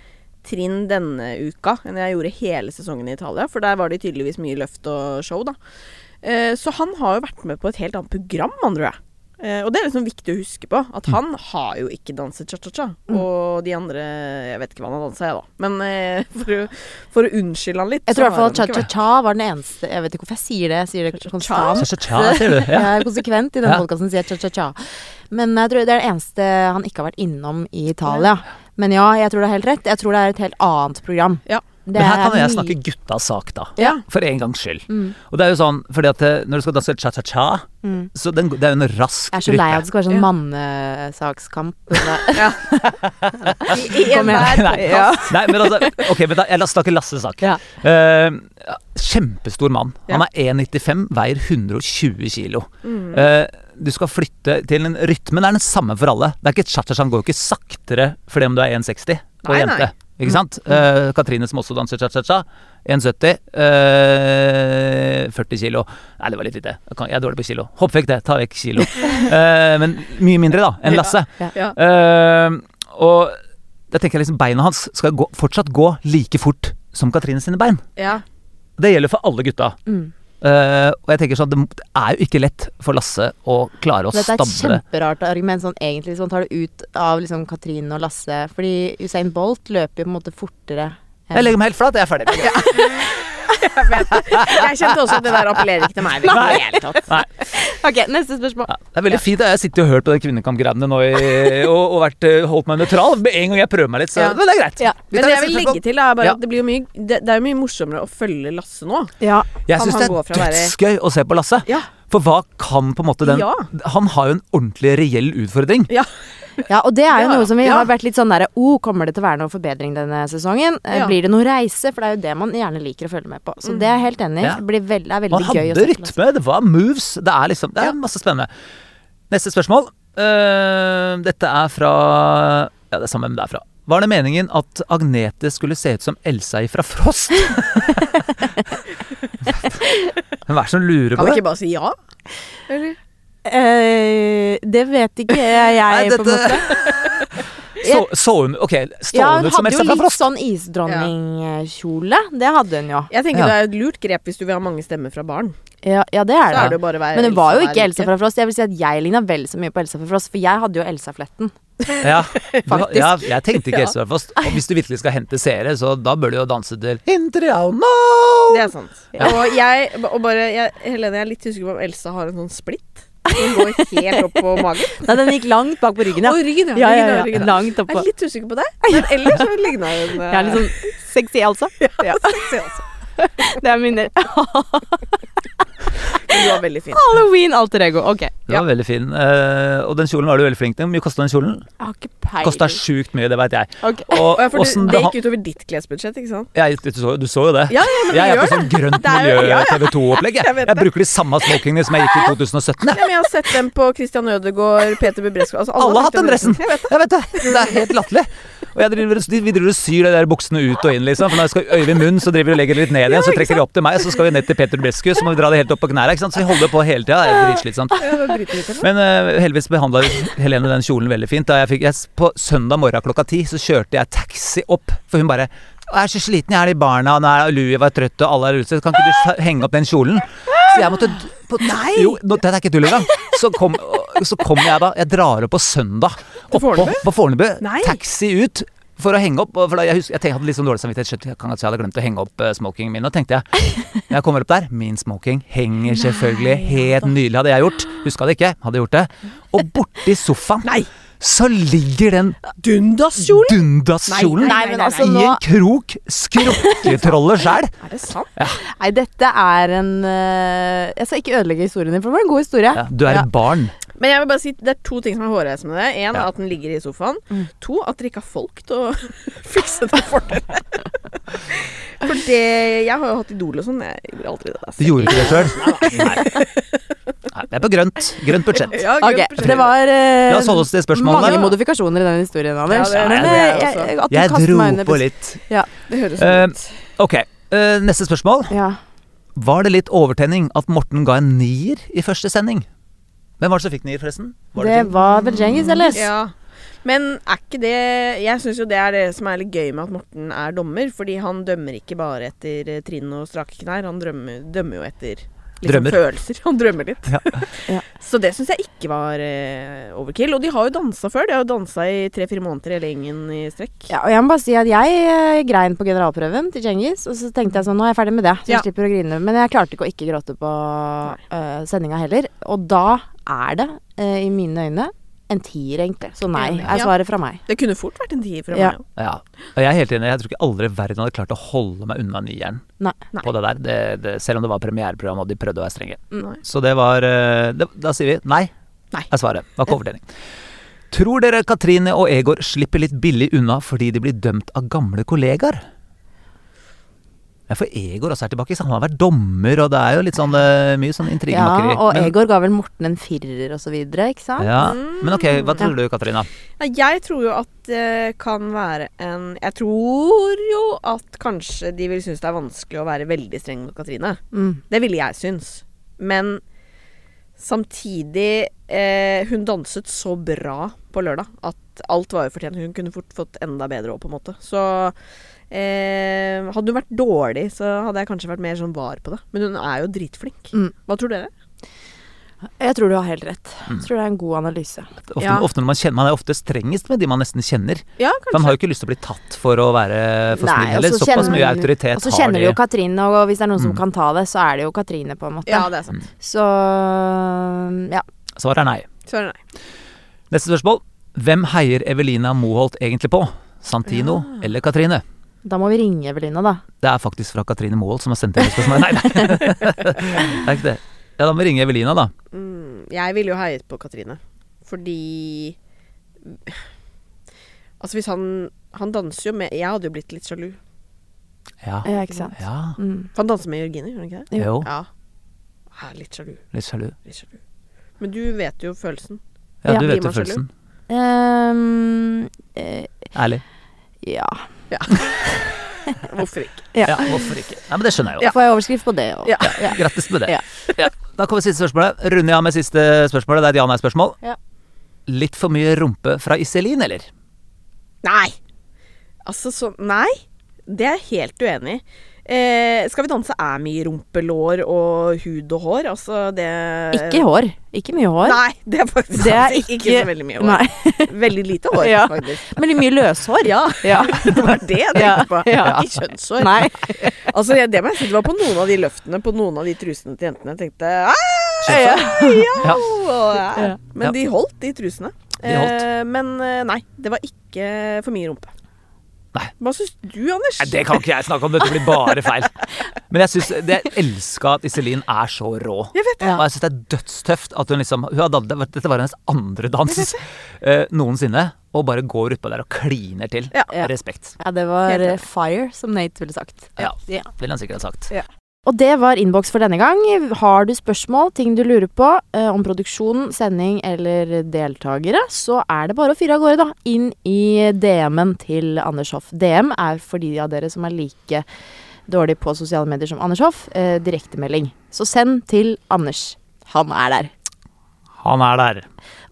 S5: trinn denne uka enn jeg gjorde hele sesongen i Italia, for der var det tydeligvis mye løft og show, da. Eh, så han har jo vært med på et helt annet program, han tror jeg. Eh, og det er liksom viktig å huske på, at
S1: Mm.
S5: han har jo ikke danset cha-cha-cha. Og de andre Jeg vet ikke hva han har dansa, jeg, da. Men eh, for, å, for å unnskylde han litt
S1: Jeg tror i hvert fall at
S5: så har han ikke vært-
S1: cha-cha-cha var den eneste Jeg vet ikke hvorfor jeg sier det. Jeg sier det konstant.
S2: Cha-cha-cha,
S1: <laughs>
S2: sier du. Ja.
S1: Jeg er konsekvent i denne
S2: Ja.
S1: podcasten podkasten sier jeg cha-cha-cha. Men jeg tror det er det eneste han ikke har vært innom i Italia. Men ja, jeg tror det er helt rett. Jeg tror det er et helt annet program.
S5: Ja.
S1: Det
S2: Men her
S1: er
S2: kan jo jeg
S1: mye-
S2: snakke guttas sak, da.
S5: Ja.
S2: For en gangs skyld.
S1: Mm.
S2: Og det er jo sånn, fordi at eh, når du skal danse cha-cha-cha, så den, det er jo en rask
S1: Jeg er så lei av at det
S2: rytme. <laughs>
S1: skal være sånn
S5: Ja.
S1: mannesakskamp. <laughs>
S5: I enhver
S2: Nei,
S5: ja.
S2: Nei, men altså, ok, men da, jeg la- snakker Lasses sak.
S1: Ja.
S2: Eh, kjempestor mann.
S5: Ja.
S2: Han er 1,95, veier 120 kilo.
S1: Mm.
S2: Eh, du skal flytte til en Rytmen er den samme for alle. Det er ikke cha-cha-cha, han går jo ikke saktere fordi om du er 1,60 og
S5: Nei,
S2: jente.
S5: nei.
S2: Ikke sant?
S1: Mm.
S2: Eh, Katrine som også danser cha-cha-cha. 1,70. eh, 40 kilo. Nei, det var litt lite. Jeg kan- Jeg er dårlig på kilo. Hopp vekk det. Ta vekk
S1: <laughs>
S2: kilo. Eh, men mye mindre, da, enn Lasse.
S5: Ja.
S2: Eh, og da tenker jeg liksom beina hans skal gå, fortsatt gå like fort som Katrine sine bein.
S5: ja.
S2: Det gjelder for alle gutta.
S1: Mm.
S2: Eh, og jeg tenker sånn, det m- det er jo ikke lett for Lasse å klare å
S1: Dette er et
S2: stable.
S1: kjemperart argument, sånn egentlig, hvis man tar det ut av liksom Katrine og Lasse. Fordi Usain Bolt løper jo på en måte fortere. enn-
S2: Jeg legger meg helt flat, jeg er ferdig.
S5: Jeg kjente også at det der appellerer ikke til meg. Liksom.
S2: Nei.
S5: i det hele tatt.
S1: Ok, neste spørsmål.
S2: Ja, det er veldig fint. da. Jeg sitter jo og hørt på de kvinnekampgreiene nå
S5: <laughs>
S2: i, og, og vært, eh, holdt meg nøytral. Med en gang jeg prøver meg litt, så
S5: Ja.
S2: men det er greit.
S1: Ja.
S2: Vi tar
S5: Men det jeg
S2: neste
S5: vil
S2: spørsmål.
S5: legge til, er bare
S2: Ja.
S5: at det, blir jo mye, det, det er jo mye morsommere å følge Lasse nå.
S1: Ja.
S2: Jeg
S5: Han-
S2: syns
S5: han
S2: det
S5: går fra å
S2: er
S5: være-
S2: dødsgøy å se på Lasse.
S5: Ja.
S2: For hva kan på en måte den
S5: Ja.
S2: Han har jo en ordentlig reell utfordring.
S5: Ja.
S1: Ja, og det er jo
S5: Ja,
S1: noe som vi
S5: ja.
S1: har vært litt sånn derre oh, kommer det til å være noe forbedring denne sesongen? Eh,
S5: Ja. Mm.
S1: Blir det noe reise? For det er jo det man gjerne liker å følge med på. Så det er jeg helt enig i.
S2: Ja.
S1: Det blir veld, det er veldig
S2: Man
S1: gøy å
S2: hadde
S1: se på Lasse.
S2: rytme, det var moves. Det er liksom Det er masse spennende. Neste spørsmål. Eh, dette er fra Ja, det er samme hvem det er fra. Var det meningen at Agnete skulle se ut som Elsa
S1: <laughs>
S2: fra Frost? Hvem er det som lurer på
S5: Kan vi
S2: det?
S5: ikke bare si ja? Eller?
S1: Eh, det vet ikke jeg,
S2: Nei, dette- så, så hun Ok, stå
S1: Ja,
S2: hun
S1: hun
S2: ut
S1: hadde
S2: som Elsa
S1: jo
S2: fra
S1: litt
S2: Frost?
S1: sånn isdronningkjole. Det hadde hun jo.
S5: Jeg tenker
S2: Ja.
S5: det er et lurt grep hvis du vil ha mange stemmer fra barn.
S1: Ja, ja det
S5: Så
S1: er det.
S5: er det jo bare å være
S1: Men hun var jo
S5: Elsa
S1: ikke
S5: her
S1: Elsa
S5: uke.
S1: fra Frost. Jeg vil si at jeg ligna vel så mye på Elsa fra Frost, for jeg hadde jo Elsa-fletten.
S2: Ja,
S1: <laughs>
S5: Faktisk.
S2: ja, jeg tenkte ikke
S5: Ja.
S2: Elsa fra Frost. Og hvis du virkelig skal hente seere, så da bør du jo danse til Interial No!
S5: Det er sant. Og jeg, og bare, jeg, Helene, jeg er litt usikker på om Elsa har en sånn splitt. Hun går helt opp på magen.
S1: Nei, den gikk langt bak på ryggen, ja.
S5: Og ryggen,
S1: Ja, ja,
S5: ja.
S1: ja,
S5: Ryggen, ja, ryggen.
S1: Langt
S5: Jeg
S1: oppå.
S5: er litt usikker på deg, men ellers så ligna hun eh,
S1: Jeg er litt sånn sexy,
S5: <laughs>
S1: altså. Ja.
S5: se også.
S1: Det er minner.
S5: Men du var veldig fin.
S1: Halloween alter ego. Ok.
S2: Du var veldig fin. Eh, og den kjolen var du veldig flink til. Hvor mye kosta den kjolen?
S1: Jeg har ikke peiling.
S2: Kosta sjukt mye, det veit jeg.
S1: Ok.
S2: Og,
S5: Og jeg, for
S2: åssen
S5: du,
S2: det
S5: det
S2: han-
S5: gikk utover ditt klesbudsjett, ikke sant?
S2: jeg, du, så, du så jo det.
S5: Ja, ja, men
S2: jeg
S5: det
S2: er på
S5: gjør
S2: sånn grønt
S5: Det er jo- ja, ja.
S2: miljø-TV2-opplegg. Jeg,
S5: Jeg vet
S2: jeg
S5: det.
S2: bruker de samme smokingene som jeg gikk i 2017. Jeg.
S5: Ja, men jeg har sett dem på Christian Ødegaard, Peter Bubresko altså,
S2: Alle har hatt den dressen!
S5: Jeg vet det.
S2: Jeg vet det. Det er helt latterlig. Og jeg driver, vi driver og syr de der buksene ut og inn, liksom. For når jeg skal øyve i munnen, så driver vi og legger det litt ned igjen. Så trekker de opp til meg, så skal vi ned til Peter Bresku, så må vi dra det helt opp på knærne. ikke sant? Så vi holder på hele tida. Det er dritslitsomt.
S5: Ja, det var brytehvitt, eller?
S2: Men eh, heldigvis behandla Helene den kjolen veldig fint. Da jeg fikk, jeg, s- på søndag morgen klokka ti så kjørte jeg taxi opp, for hun bare «Å, 'Jeg er så sliten, jeg er de barna, og nå er Louie var trøtt, og alle er ute, kan ikke du ta- henge opp den kjolen?' Så jeg måtte d- på, Nei! Jo, nå, dette er ikke tull engang. Så kom, og- så kom jeg da Jeg drar opp på søndag oppå
S5: Fornebu?
S2: på Fornebu.
S5: Nei.
S2: Taxi ut. For å henge opp, og for da, jeg, husker, jeg, tenkte, jeg hadde litt sånn dårlig samvittighet, skjønte jeg kan at jeg hadde glemt å henge opp eh, smokingen min. Og tenkte jeg, når jeg kommer opp der, min smoking henger selvfølgelig helt nydelig. Hadde jeg gjort, huska det ikke, hadde gjort det. Og borti sofaen
S5: Nei.
S2: så ligger den
S5: Dundaskjolen?
S2: dundaskjolen
S1: Nei, men altså
S2: i
S1: nå
S2: en krok, skrukketrollet sjæl.
S5: Er det sant?
S1: Nei, dette er en eh, Jeg skal ikke ødelegge historien din, for det var en god historie.
S2: Ja, du er et barn.
S5: Men jeg vil bare si det er to ting som er hårreisende med det. Én
S2: Ja. Mm.
S5: at den ligger i sofaen. To at dere ikke har folk til å <laughs> fikse det for dere. For det Jeg har jo hatt Idol og sånn. Jeg gjorde aldri det.
S2: Du gjorde ikke det sjøl. Nei. Nei, det er på grønt. Grønt budsjett.
S5: Ja,
S1: Ok, det var eh,
S2: La oss holde oss til spørsmålet.
S1: mange modifikasjoner i den historien, Anders.
S5: Ja, det-
S1: Men,
S2: det
S5: er
S1: eh,
S5: det
S1: jeg,
S5: også.
S1: at du
S2: Jeg
S1: kaster
S2: dro
S1: meg under
S2: på
S1: bussen.
S2: litt.
S5: Det høres
S2: Eh,
S5: sånn ut.
S2: Ok, eh, neste spørsmål.
S1: Ja.
S2: Var det litt overtenning at Morten ga en nier i første sending? Hvem var det som fikk nier, forresten? Var
S1: Det
S2: Tim?
S1: var vel Djengis, eller?
S5: <laughs> Ja. Men er ikke det Jeg syns jo det er det som er litt gøy med at Morten er dommer. Fordi han dømmer ikke bare etter eh, trinn og strake knær. Han drømmer, dømmer jo etter liksom,
S2: Drømmer.
S5: følelser. <laughs> Han drømmer litt.
S2: Ja.
S1: <laughs> Ja.
S5: Så det syns jeg ikke var eh, overkill. Og de har jo dansa før. De har jo dansa i tre-fire måneder hele gjengen i strekk.
S1: Ja, og jeg må bare si at jeg eh, grein på generalprøven til Djengis, og så tenkte jeg sånn, nå er jeg ferdig med det, så jeg
S5: Ja.
S1: slipper å grine. Men jeg klarte ikke å ikke gråte på uh, sendinga heller. Og da er det, eh, i mine øyne, en tier egentlig. Så nei,
S5: Enig.
S1: er
S5: Ja.
S1: svaret fra meg.
S5: Det kunne fort vært en tier fra
S1: Ja.
S5: meg.
S2: Ja. Og jeg er helt enig. Jeg tror ikke aldri i verden hadde klart å holde meg unna nieren
S1: Nei.
S2: på det der. Det, det, selv om det var premiereprogram og de prøvde å være strenge.
S5: Nei.
S2: Så det var eh, det, Da sier vi nei,
S5: Nei.
S2: er svaret. Var ikke overdeling. Tror dere Katrine og Egor slipper litt billig unna fordi de blir dømt av gamle kollegaer? Ja, for Egor også er tilbake. så Han har vært dommer, og det er jo litt sånn eh, mye sånn
S1: Ja,
S2: intrigemakeri.
S1: og
S2: men,
S1: Egor ga vel Morten en firer og så videre, ikke sant?
S2: ja. men ok, hva tror du, Katrina?
S5: Nei, jeg tror jo at det kan være en Jeg tror jo at kanskje de vil synes det er vanskelig å være veldig streng mot Katrine.
S1: Mm.
S5: Det ville jeg synes. Men samtidig eh, Hun danset så bra på lørdag at alt var jo fortjent. Hun kunne fort fått enda bedre òg, på en måte. Så eh, hadde hun vært dårlig, så hadde jeg kanskje vært mer sånn var på det. Men hun er jo dritflink.
S1: Mm.
S5: Hva tror dere?
S1: Jeg tror du har helt rett.
S2: Mm.
S1: Jeg tror det er en god analyse.
S2: Ofte,
S5: Ja.
S2: ofte når man, kjenner, man er ofte strengest med de man nesten kjenner.
S5: Ja,
S2: For han har jo ikke lyst til å bli tatt for å være for
S1: Nei,
S2: snill
S1: og
S2: heller.
S1: så
S2: Såpass
S1: kjenner-
S2: mye autoritet
S1: Og så
S2: har
S1: kjenner
S2: de.
S1: du jo Katrine, og hvis det er noen som
S2: Mm.
S1: kan ta det, så er det jo Katrine, på en måte.
S5: Ja, det er sant.
S1: Så ja.
S2: Svaret er nei.
S5: Svaret er nei.
S2: Neste spørsmål. Hvem heier Evelina Moholt egentlig på? Santino eller Katrine?
S1: Da må vi ringe Evelina, da.
S2: Det er faktisk fra Katrine Moholt som har sendt inn et spørsmål. Nei, <laughs> nei. det er ikke det. Ja, da må vi ringe Evelina, da.
S5: Mm, jeg ville jo heiet på Katrine. Fordi Altså, hvis han Han danser jo med Jeg hadde jo blitt litt sjalu.
S2: Ja.
S1: Ja, ikke sant.
S2: ja.
S1: Mm.
S5: For han danser med Jørgine, gjør han ikke det?
S2: Jo,
S5: Ja. Jeg er litt sjalu.
S2: litt sjalu.
S5: Litt sjalu. Men du vet jo følelsen.
S2: Ja,
S1: Ja,
S2: du
S5: blir
S2: vet jo
S5: man sjalu?
S2: følelsen.
S1: Ehm, eh,
S2: Ærlig.
S1: ja.
S5: Hvorfor
S1: <laughs>
S5: ikke?
S2: Ja, hvorfor ikke? Nei, men det skjønner jeg jo.
S1: Får jeg overskrift på det òg?
S5: Ja.
S2: Grattis med det.
S1: Ja.
S2: Ja. Da kommer siste spørsmålet. Runder jeg av med siste spørsmålet. Det er et ja-nei-spørsmål.
S1: Ja.
S2: Litt for mye rumpe fra Iselin, eller?
S5: Nei! Altså, så Nei! Det er jeg helt uenig i. Eh, skal vi danse er mye rumpelår og hud og hår. Altså, det
S1: Ikke hår. Ikke mye hår.
S5: Nei, det er faktisk
S1: Det er
S5: ikke,
S1: ikke
S5: så veldig mye hår. <laughs> Veldig lite hår,
S1: <laughs> Ja.
S5: faktisk.
S1: Men mye løshår.
S5: Ja.
S1: Ja.
S5: Det var <laughs> det jeg
S1: Ja.
S5: tenkte på.
S1: Ja.
S5: Ikke kjønnshår.
S1: Nei.
S5: <laughs> Altså, jeg, det må jeg si, det var på noen av de løftene, på noen av de trusene til jentene. Jeg tenkte "Ah!" «Au,
S2: Skjønner Ja.
S5: au, au».
S1: Ja.
S5: Men
S2: Ja.
S5: de holdt, de trusene.
S2: De holdt.
S5: Eh, men eh, nei, det var ikke for mye rumpe.
S2: Nei.
S5: Hva syns du, Anders?
S2: Nei, det kan ikke jeg snakke om, dette blir bare feil. Men jeg syns Jeg elska at Iselin er så rå.
S5: Jeg vet det.
S2: Og jeg syns det er dødstøft at hun liksom hun har dan- det var- Dette var hennes andre dans eh, noensinne. Og bare går utpå der og kliner til.
S5: Ja.
S2: Respekt.
S1: Ja, det var
S5: Helt enig.
S1: eh, fire, som Nate ville sagt.
S2: Ja. Ville han sikkert ha sagt.
S1: Og det var innboks for denne gang. Har du spørsmål, ting du lurer på eh, om produksjonen, sending eller deltakere, så er det bare å fyre av gårde, da. Inn i DM-en til Anders Hoff. DM er for de av dere som er like dårlig på sosiale medier som Anders Hoff, eh, direktemelding. Så send til Anders. Han er der.
S2: Han er der.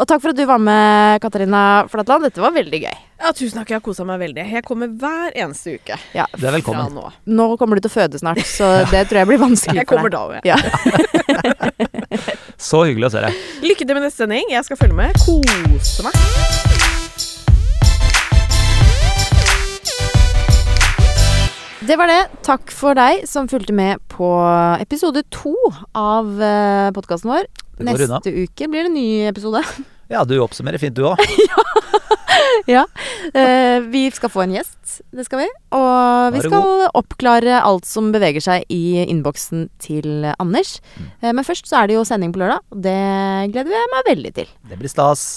S1: Og takk for at du var med, Katarina Flatland. Dette var veldig gøy.
S5: Ja, tusen takk, jeg har kosa meg veldig. Jeg kommer hver eneste uke
S1: Ja,
S2: Du er
S5: fra
S2: velkommen.
S5: nå.
S1: nå kommer du til å føde snart,
S5: <laughs>
S1: så det tror jeg blir vanskelig
S5: Jeg
S1: for
S5: kommer
S1: deg.
S5: da òg, jeg.
S1: Ja.
S2: Så hyggelig å se deg.
S5: Lykke til med neste sending. Jeg skal følge med. Kose meg.
S1: Det var det. Takk for deg som fulgte med på episode to av eh, podkasten vår.
S2: Det går
S1: Neste
S2: unna.
S1: uke blir det en ny
S2: <laughs>
S1: episode.
S2: Ja, du oppsummerer fint, du òg.
S1: ja. Eh, vi skal få en gjest, det skal vi. Og vi
S2: Vær så
S1: skal oppklare alt som beveger seg i innboksen til Anders.
S2: Mm.
S1: Eh, men først så er det jo sending på lørdag, og det gleder jeg meg veldig til.
S2: Det blir stas.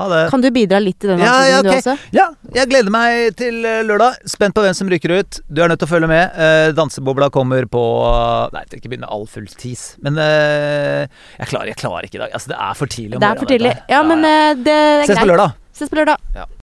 S2: Ha det.
S1: Kan du bidra litt til den
S2: Ja, ja,
S1: episoden,
S2: ok.
S1: du også?
S2: Ja, jeg gleder meg til eh, lørdag. Spent på hvem som rykker ut. Du er nødt til å følge med. Eh, dansebobla kommer på eh, Nei, jeg skal ikke begynne med all full tis. Men eh, jeg, klarer, jeg klarer ikke i dag. Altså, det er for tidlig. om
S1: Det er
S2: morgenen,
S1: for tidlig.
S2: dette.
S1: Ja, men eh, det er greit.
S2: Ses på lørdag.
S1: Ses på lørdag.